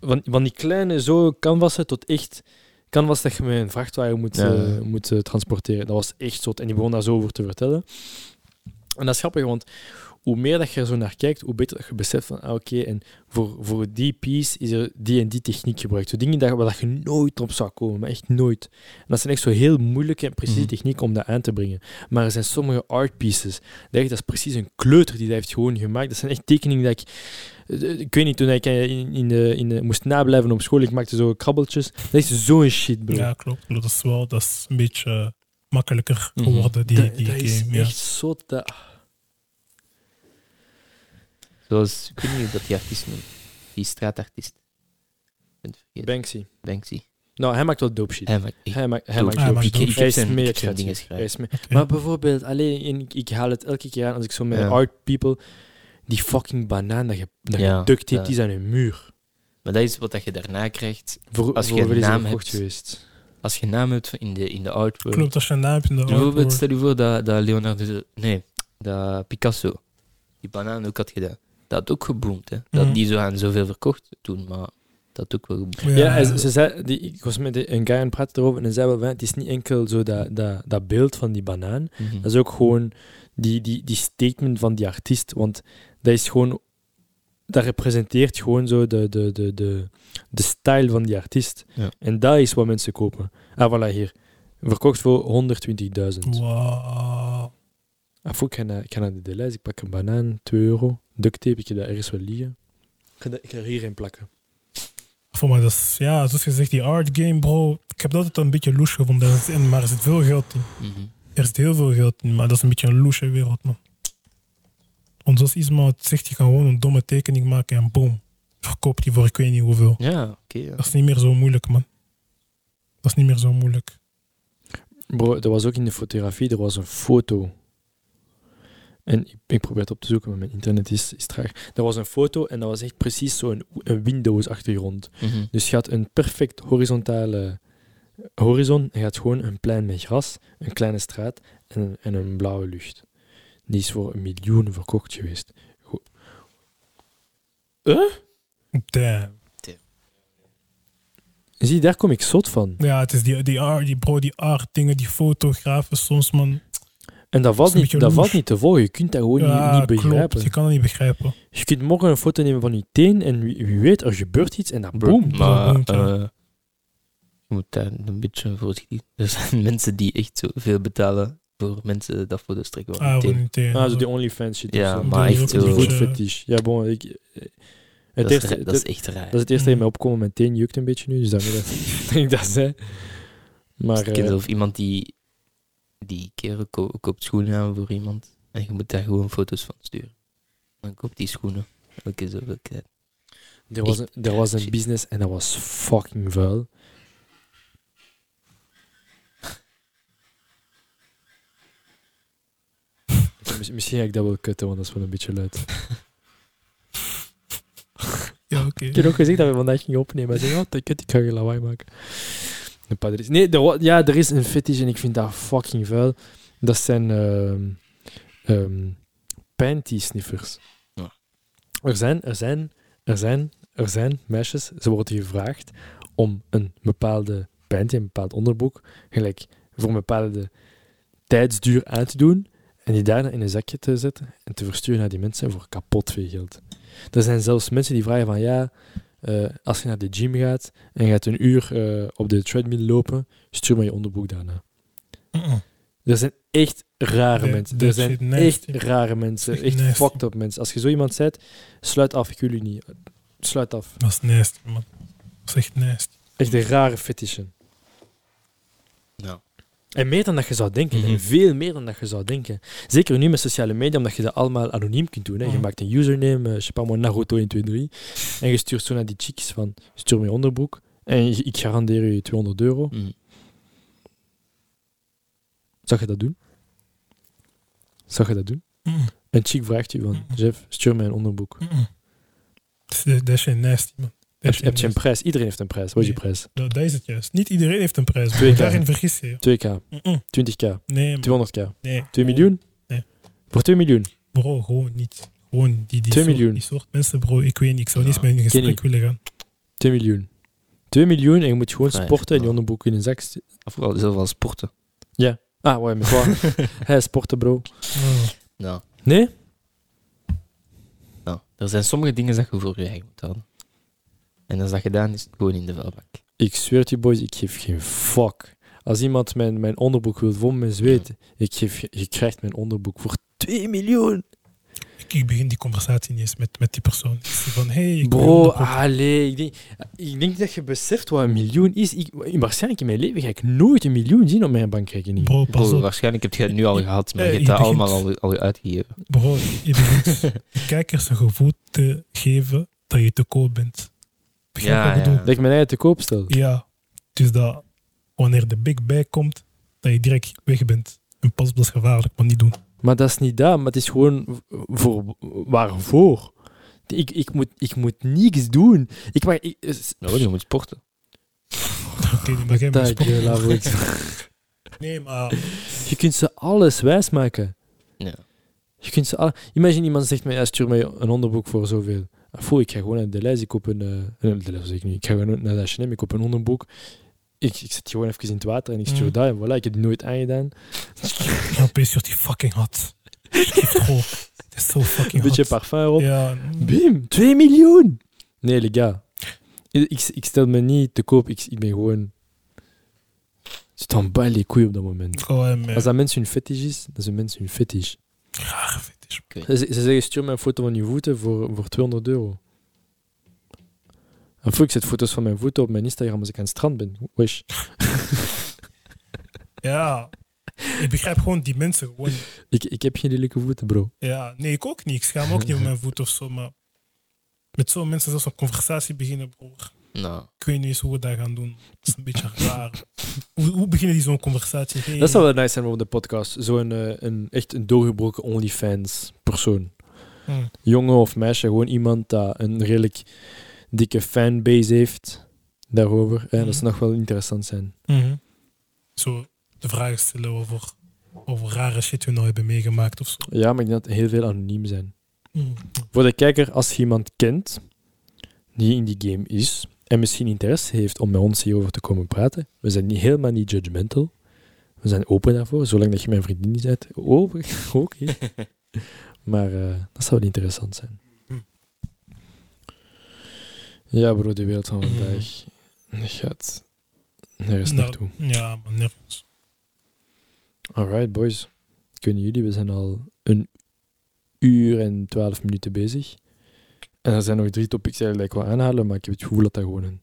van, van die kleine zo canvassen tot echt canvas dat je met een vrachtwagen moet,
Ja.
eh, moet eh, transporteren. Dat was echt zot en die begon daar zo over te vertellen. En dat is grappig, want hoe meer dat je er zo naar kijkt, hoe beter dat je beseft van, ah, oké, en voor, voor die piece is er die en die techniek gebruikt. Zo dingen daar waar dat je nooit op zou komen, maar echt nooit. En dat zijn echt zo heel moeilijke en precieze
Mhm.
technieken om dat aan te brengen. Maar er zijn sommige art pieces, dat, echt, dat is precies een kleuter die dat heeft gewoon gemaakt. Dat zijn echt tekeningen dat ik... eh, Ik weet niet, toen ik eh, in, in, de, in de- moest nablijven op school, ik maakte zo krabbeltjes. Dat is zo'n shit, bro.
Ja, klopt. klopt. Dat is wel dat is een beetje eh, makkelijker
Mhm.
geworden, die,
dat
die
dat
game.
is
ja.
echt zot. dat-
Zoals, ik weet niet hoe dat die artiest noemt. Die straatartiest. Ik ben het vergeten.
Banksy.
Banksy.
Nou, hij maakt wel dope shit.
Hij maakt echt
Hij maakt, hij
dope.
maakt
Hij
dope
maakt
shit.
dope
Hij is
shit.
meer
Ik vind dingen
creatief. Hij is meer-
Oké.
Maar bijvoorbeeld, alleen, en ik, ik haal het elke keer aan als ik zo met
Ja.
art people, die fucking banaan dat je, dat
Ja,
je duct tape
ja.
is aan een muur.
Maar dat is wat dat je daarna krijgt
Voor,
Als je
voor
een
wel eens
naam
gekocht
hebt.
geweest.
Als je een naam hebt in de, in de artwork.
Klopt, als je een naam hebt in de
Bijvoorbeeld,
artwork.
stel je voor dat, dat Leonardo... de- Nee, dat Picasso die banaan ook had gedaan. Dat had ook geboomd, hè. Dat
Mhm.
die zo aan zoveel verkocht toen, maar dat had ook wel geboomd.
Ja,
Ja,
en ze zei, die, ik was met een guy aan het praten erover en hij zei wel, van, het is niet enkel zo dat, dat, dat beeld van die banaan,
Mhm.
dat is ook gewoon die, die, die statement van die artiest, want dat is gewoon, dat representeert gewoon zo de, de, de, de, de stijl van die artiest.
Ja.
En dat is wat mensen kopen. Ah, voilà, hier. Verkocht voor 120.000.
Wow.
Ah, voor, ik, ga naar, ik ga naar de Deleuze, ik pak een banaan, 2 euro, duct tape, ik heb dat ergens wel liggen. Ik ga, dat- ik ga er hierin plakken.
Voor mij, dat is, ja, zoals je zegt, die art game, bro. Ik heb dat altijd een beetje loes gevonden. Dat is- en- Maar er zit veel geld in.
Mhm.
Er zit heel veel geld in, maar dat is een beetje een loesje wereld, man. Want zoals Isma het zegt, je kan gewoon een domme tekening maken en boom. Verkoop die voor ik weet niet hoeveel.
Ja, oké. ja.
Dat is niet meer zo moeilijk, man. Dat is niet meer zo moeilijk.
Bro, er was ook in de fotografie, er was een foto. En ik, ik probeer het op te zoeken, maar mijn internet is, is traag. Er was een foto en dat was echt precies zo'n een Windows-achtergrond.
Mhm.
Dus je had een perfect horizontale horizon en je had gewoon een plein met gras, een kleine straat en, en een blauwe lucht. Die is voor miljoenen verkocht geweest.
Damn.
Zie, daar kom ik zot van.
Ja, het is die, die art, die bro, die art dingen, die fotografen soms, man.
En dat
Dat is
valt,
een
niet,
beetje
dat
loes.
valt niet te volgen. Je kunt dat gewoon
ja,
niet, niet begrijpen.
klopt. Je kan dat niet begrijpen.
Je kunt morgen een foto nemen van je teen en wie, wie weet, er gebeurt iets en dat
Bro,
boom.
Maar
boomt, ja.
eh, je moet daar een beetje voorzichtig. Er zijn <laughs> mensen die echt zoveel betalen voor mensen dat foto's trekken. van
Ah,
meteen.
gewoon niet
Ah, zo die OnlyFans shit.
Ja,
of zo.
maar
Die
echt
is ook
Die
zo.
een
food
beetje-
fetish. Ja, bon, ik, eh, het
Dat is,
eerste,
ra- dat is echt raar.
dat is het eerste dat in
Mm.
mij opkomt. Mijn teen jukt een beetje nu, dus daarmee dat,
<laughs>
dat <laughs> ik dat zei. Maar
ik ken
eh,
zelf iemand die, die keren ko- koopt schoenen aan voor iemand. En je moet daar gewoon foto's van sturen. Dan koopt die schoenen. Elke zoveel tijd.
eh, er, was een, er was een business en dat was fucking
<laughs>
vuil. Miss- Misschien ga ik dat wel kutten, want dat is wel een beetje luid.
Ja, oké. <laughs>
Ik heb ook gezegd dat we vandaag gingen opnemen. Hij zei, oh, take it, ik ga je lawaai maken. De padre is- Nee, er, wa- ja, er is een fetish en ik vind dat fucking vuil. Dat zijn ehm ehm, panty sniffers.
Ja.
Er zijn, er zijn, er zijn, er zijn meisjes, ze worden gevraagd om een bepaalde panty, een bepaald onderbroek, gelijk voor een bepaalde tijdsduur aan te doen en die daarna in een zakje te zetten en te versturen naar die mensen voor kapot veel geld. Er zijn zelfs mensen die vragen van ja, eh, als je naar de gym gaat en je gaat een uur eh, op de treadmill lopen, stuur maar je onderbroek daarna.
Mm-mm.
Er zijn echt rare
Ja,
mensen. Er
dat
zijn
shit nasty.
echt rare mensen.
Echt
Echt
nasty.
fucked up mensen. Als je zo iemand zet, sluit af. Ik wil u niet. Sluit af.
Dat is nasty, man. Dat is echt nasty.
Echt een rare fetishen.
Ja.
En meer dan dat je zou denken.
Mhm.
En veel meer dan dat je zou denken. Zeker nu met sociale media, omdat je dat allemaal anoniem kunt doen. Hè. Je
Mhm.
maakt een username, eh, je sais pas moi, Naruto123. En je stuurt zo naar die chicks van, stuur me je onderbroek. En je- ik garandeer je 200 euro.
Mhm.
Zou je dat doen? Zou je dat doen?
Mm-mm.
Een chick vraagt je van,
Mhm.
Jeff, stuur mij een onderbroek.
Mm-mm. Dat is- Dat is echt nasty, man. Dat
Heb,
is
heb je een
nasty.
prijs? Iedereen heeft een prijs. Wat is je
Nee.
prijs?
Dat dat is het juist. Niet iedereen heeft een prijs.
Twee
bro.
keer.
Daarin vergis je.
2k,
Mm-mm.
20k,
Nee, man.
200k,
Mm. nee.
2
Bro,
miljoen?
Nee.
Voor 2 miljoen.
Bro, gewoon niet. Gewoon die, die,
Twee
soort,
miljoen.
die soort mensen, bro. Ik weet niet. Ik zou
Ja,
niet eens met hun in
ken
gesprek
ik.
willen gaan.
2 miljoen. 2 miljoen en je moet gewoon
Vrij,
sporten en je
ja.
onderbroek in een zak. st-
Vooral zoveel <laughs> sporten.
Ah, ouais, maar
<laughs>
waar? Hij sporten, bro.
Oh,
Nou,
Nee?
nou, er zijn sommige dingen dat je voor je eigen moet houden. En als dat gedaan is, gewoon in de vuilbak.
Ik zweer het je, boys, ik geef geen fuck. Als iemand mijn, mijn onderbroek wil vol met zweet, ik geef, ge- je krijgt mijn onderbroek voor 2 miljoen.
ik, ik begin die conversatie niet eens met, met die persoon. Ik zeg van, hey, ik wil
Bro, ah,
onderbroek.
allee. Ik denk, ik denk dat je beseft wat een miljoen is. Ik, waarschijnlijk in mijn leven ga ik nooit een miljoen zien op mijn bankrekening.
Bro, pas
Bro,
ah.
op.
Oh, waarschijnlijk heb je het nu al gehad, maar je
Eh,
hebt
je
dat
begint-
allemaal al, al uitgegeven.
Bro, je begint de kijkers een gevoel te geven dat je te koop bent. Begrijp
Ja,
wat ik
ja.
bedoel?
Dat ik mijn eigen te koop stel.
Ja, dus dat wanneer de big bag komt, dat je direct weg bent. En pas op, dat is gevaarlijk, maar niet doen. <laughs>
Maar dat is niet dat, maar het is gewoon v- voor waarvoor. Ik, ik, moet, ik moet niks doen. Ik mag, ik, eh, s-
Nou, je moet sporten.
oké, nee, maar jij bent
Dat je,
sportman.
laat ik-
Nee, maar
je kunt ze alles wijsmaken.
Ja.
Je kunt ze al... Imagine iemand zegt mij, ja, stuur mij een onderbroek voor zoveel. Ah, Foei, ik ga gewoon naar de lijst, ik koop een... eh, nee, de lijst zeg ik niet. Ik ga gewoon naar de H&M, ik koop een onderbroek. Ik, ik zet gewoon even in het water en ik stuur
Mm.
dat. En voilà, ik heb die nooit aangedaan.
opeens wordt die fucking hot. Gewoon, <laughs> het is zo
Een
fucking hot.
beetje parfum erop.
Ja,
Bim, 2 miljoen! Nee, les gars. Ik, ik- ik stel me niet te koop. Ik, ik ben gewoon... C'est en bas les couilles op dat moment.
gewoon, eh,
Als dat mensen hun fetish is, dat is een mens hun fetish.
raar fetish.
Ze, ze zeggen, stuur mij een foto van je voeten voor, voor 200 euro. En voor ik zet foto's van mijn voeten op mijn Instagram als ik aan het strand ben. Wesh.
Ja, ik begrijp gewoon die mensen. Gewoon,
Ik, ik heb geen lelijke voeten, bro.
ja, nee, ik ook niet. Ik schaam me ook niet op mijn voet of zo, maar met zo'n mensen zelfs een conversatie beginnen, broer.
Nou,
Ik weet niet eens hoe we dat gaan doen. Dat is een beetje raar. Hoe, hoe beginnen die zo'n conversatie? Hey,
Dat zou wel nice zijn voor de podcast. Zo'n eh, een, echt een doorgebroken OnlyFans persoon.
hm,
Jongen of meisje, gewoon iemand dat een redelijk dikke fanbase heeft daarover. En dat zou nog wel interessant zijn.
mhm. Zo de vragen stellen over, over rare shit we nou hebben meegemaakt of zo.
Ja, maar ik denk dat heel veel anoniem zijn.
Hm.
Voor de kijker, als je iemand kent die in die game is en misschien interesse heeft om met ons hierover te komen praten, we zijn niet, helemaal niet judgmental. We zijn open daarvoor, zolang dat je mijn vriendin niet bent. Oh, <laughs> oké. maar eh, dat zou wel interessant zijn. Ja, bro, de wereld van vandaag gaat nergens
Nou,
naartoe.
Ja, maar nergens.
Alright, boys. Kunnen jullie? We zijn al een uur en twaalf minuten bezig. En er zijn nog drie topics eigenlijk die ik wil aanhalen, maar ik heb het gevoel dat dat gewoon een...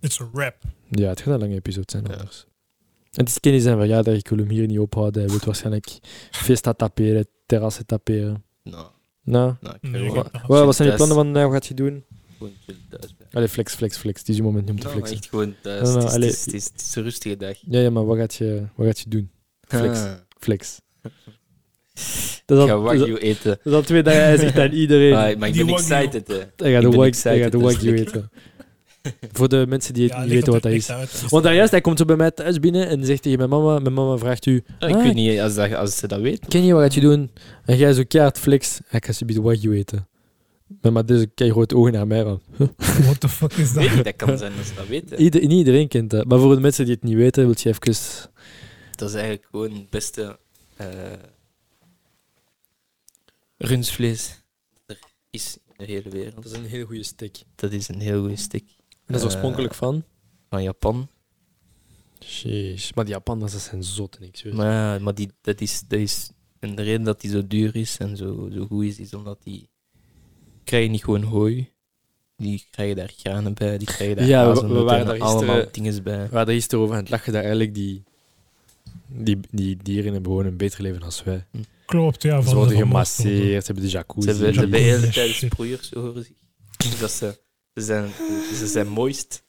It's a rap.
Ja, het gaat een lange episode zijn
Ja.
anders. En het is Kenny zijn verjaardag, ik wil hem hier niet ophouden. Hij wil waarschijnlijk fiesta taperen, terrassen taperen.
nou,
Nou,
nou, ik
Nee,
wil
ik
gewoon-
heb nog-
wat wat zijn je
thuis.
plannen van vandaag? Wat gaat je doen?
gewoon chill thuis blijven.
Allee, flex, flex, flex. Het is je moment niet om te
Nou, maar
flexen.
echt gewoon thuis.
Nou, nou,
het, is,
allee.
het, is, het, is, het is een rustige dag.
Ja, ja, maar wat gaat je, wat gaat je doen? Flex.
Ah. <laughs>
Flex.
Ik
Dat is
ga
al, dat is al-
wagyu eten.
dat is al twee dagen, hij zegt
<laughs>
aan iedereen.
Ah, maar ik
Die
ben
wagyu.
excited, hè.
Hij gaat
Ik
de
ben
wag-
excited,
hij gaat de
dus
wagyu
ik-
eten. <laughs> Voor de mensen die het
Ja,
niet
ligt
weten wat dat
natuurlijk
is.
echt uit. dus-
Want daarjuist, hij komt zo bij mij thuis binnen en zegt tegen mijn mama, mijn mama vraagt u,
Ah, ik
Ah.
weet niet als, dat, als ze dat weet.
ken je wat gaat je doen? En jij zo kaart flex, ik ga subiet wagyu eten. Mijn ma deze kei grote ogen naar mij. van.
<laughs> What the fuck is dat?
Weet niet, dat kan zijn als ze dat weten.
Ieder, niet iedereen kent dat. Maar voor de mensen die het niet weten, wil je even...
Dat is eigenlijk gewoon het beste eh rundvlees dat er is in de hele wereld.
een heel goede stick.
Dat is een heel goede stick
Dat is
Eh.
oorspronkelijk van...
van Japan.
Jeez. Maar die Japanners, dat zijn zot en ik.
Maar, ja, maar die, dat, is, dat is en de reden dat die zo duur is en zo, zo goed is, is omdat die krijgen niet gewoon hooi. Die krijgen daar granen bij, die krijgen daar
Ja, we- we
hazelnoten
waren
en
daar
allemaal
gisteren-
dingen bij.
We hadden gisteren over aan het lachen dat eigenlijk die, die, die dieren hebben gewoon een beter leven dan wij.
Klopt, ja.
Ze
van-
worden
van-
gemasseerd, ze hebben de
Ze
jacuzzi.
hebben, ze hebben
Japan.
heel de tijd sproeiers horen zich. Dus dat ze, ze, zijn, ze zijn mooist.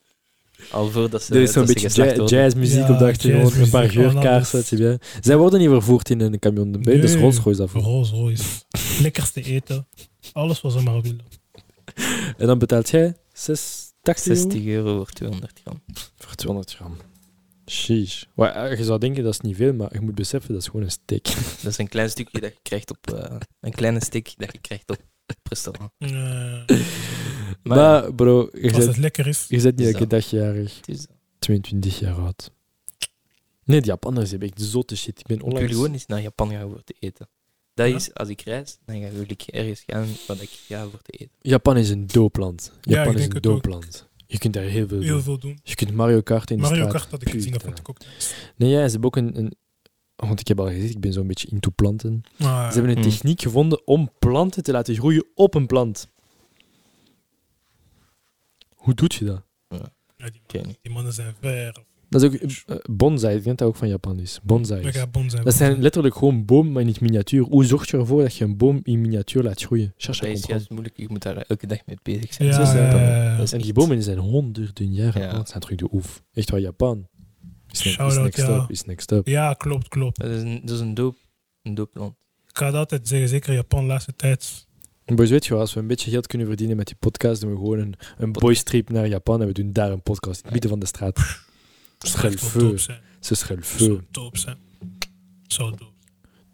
Al voordat ze
Er is zo'n
eh, dat ze
beetje
geslacht
jazz-
worden.
jazzmuziek
Ja,
op de achtergrond, een
jazzmuziek,
paar
gewoon
geurkaarsen.
alles.
zie je. Zij worden niet vervoerd in een camion. Nee,
Nee.
Dus Rolls Royce daarvoor.
Rolls Royce. Lekkerste eten. Alles wat ze maar willen.
En dan betaalt jij 6, 80 euro
60 euro voor 200 gram.
voor 200 gram. Sheesh. Wa- eh, je zou denken dat is niet veel, maar je moet beseffen dat is gewoon een steak.
Dat is een klein stukje dat je krijgt op... eh, een kleine stick dat je krijgt op het restaurant.
Eh,
Maar, bro, je
als het
bent,
lekker is.
je bent niet
Is
elke dag jarig.
Het is,
22 jaar oud. Nee, die Japanners hebben echt zotte shit. Ik ben
ik wil
onlangs...
gewoon eens naar Japan gaan voor te eten. Dat
Ja?
is, als ik reis, dan ga- wil ik ergens gaan wat ik ga voor te eten.
Japan is een doopland.
Ja,
Japan
ik
is
denk
een
het ook.
doopland. Je kunt daar heel veel doen.
Heel veel doen.
Je kunt Mario Kart in de
Mario
straat.
Kart had ik gezien, dat
putain.
vond ik ook nice.
Nee, ja, ze hebben ook een, een- Want ik heb al gezegd, ik ben zo'n beetje into planten.
Maar,
Ze hebben een
Hmm.
techniek gevonden om planten te laten groeien op een plant. Hoe doet je dat?
ja, die,
Ken je niet.
die mannen zijn ver.
Dat is ook eh, bonsai. Ik denk dat dat ook van Japan is. Bonsai.
We gaan bon zijn.
Dat zijn letterlijk gewoon bomen, maar in het miniatuur. Hoe zorg je ervoor dat je een boom in miniatuur laat groeien? Chacha
Dat is
controle.
juist moeilijk, je moet daar elke dag mee bezig zijn. Dus
ja,
zo
ja,
zijn dat.
ja, ja.
Dat is
En die
echt-
bomen zijn honderden jaren
Ja.
oud. Dat zijn terug de oef. Echt waar, Japan. Is, ne- is
Shout-out,
next
ja.
up, is next up.
Ja, klopt, klopt.
Dat is een, dat is een doop. Een doopland.
Ik ga het altijd zeggen, zeker Japan de laatste tijd.
Boys, weet je wel, als we een beetje geld kunnen verdienen met die podcast, doen we gewoon een, een boystrip naar Japan en we doen daar een podcast. In het midden van de straat.
Dat zou
Schelfeu.
dope zijn.
Ze
Dat zou
schelfeu.
dope zijn. Zou dope.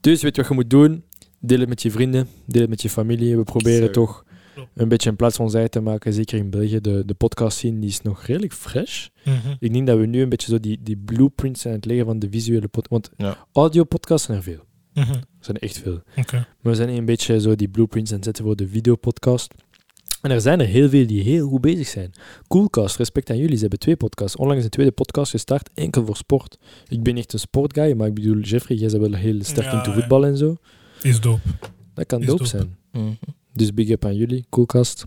Dus weet je wat je moet doen? Deel het met je vrienden, deel het met je familie. We proberen
Zo.
toch
Klopt.
een beetje een plaats van zij te maken. Zeker in België. De, de podcast scene die is nog redelijk fresh.
Mhm.
Ik denk dat we nu een beetje zo die, die blueprints zijn aan het leggen van de visuele podcast. Want
Ja.
audio-podcasts zijn er veel.
Mhm.
Er zijn echt veel.
Oké.
Maar we zijn een beetje zo die blueprints aan het zetten voor de videopodcast. En er zijn er heel veel die heel goed bezig zijn. Coolcast, respect aan jullie, ze hebben twee podcasts. Onlangs een tweede podcast gestart, enkel voor sport. Ik ben echt een sportguy, maar ik bedoel, Jeffrey, jij bent wel heel sterk
Ja,
in te
ja.
voetbal en zo.
Is dope.
Dat kan
Is
dope
dope.
zijn.
Mhm.
Dus big up aan jullie, Coolcast.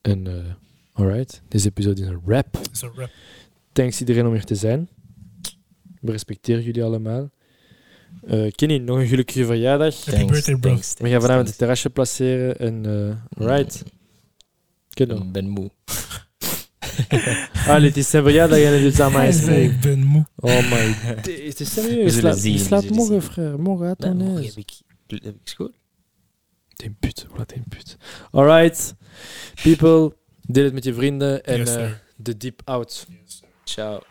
En eh, alright, deze episode is een wrap.
Is een rap.
Thanks iedereen om hier te zijn. We respecteren jullie allemaal. Eh Kenny, nog een gelukkige verjaardag.
Happy birthday, bro.
We gaan vanavond het
thanks.
terrasje placeren en eh right. Kiddo.
Ik ben moe.
Allee, het is zijn verjaardag en het is aan mij.
Hij zei, ik ben moe.
Oh my. Het is
We
serieus. Je
zullen
slaapt-
zien,
Je
we
slaapt
zullen
morgen,
zien.
frère. Morgen uit
Ben
mijn
moe.
neus.
Heb ik, heb ik school?
Een put. Wat een put. Alright. People, deel het met je vrienden en
Yes,
eh,
sir.
de deep out.
Ciao.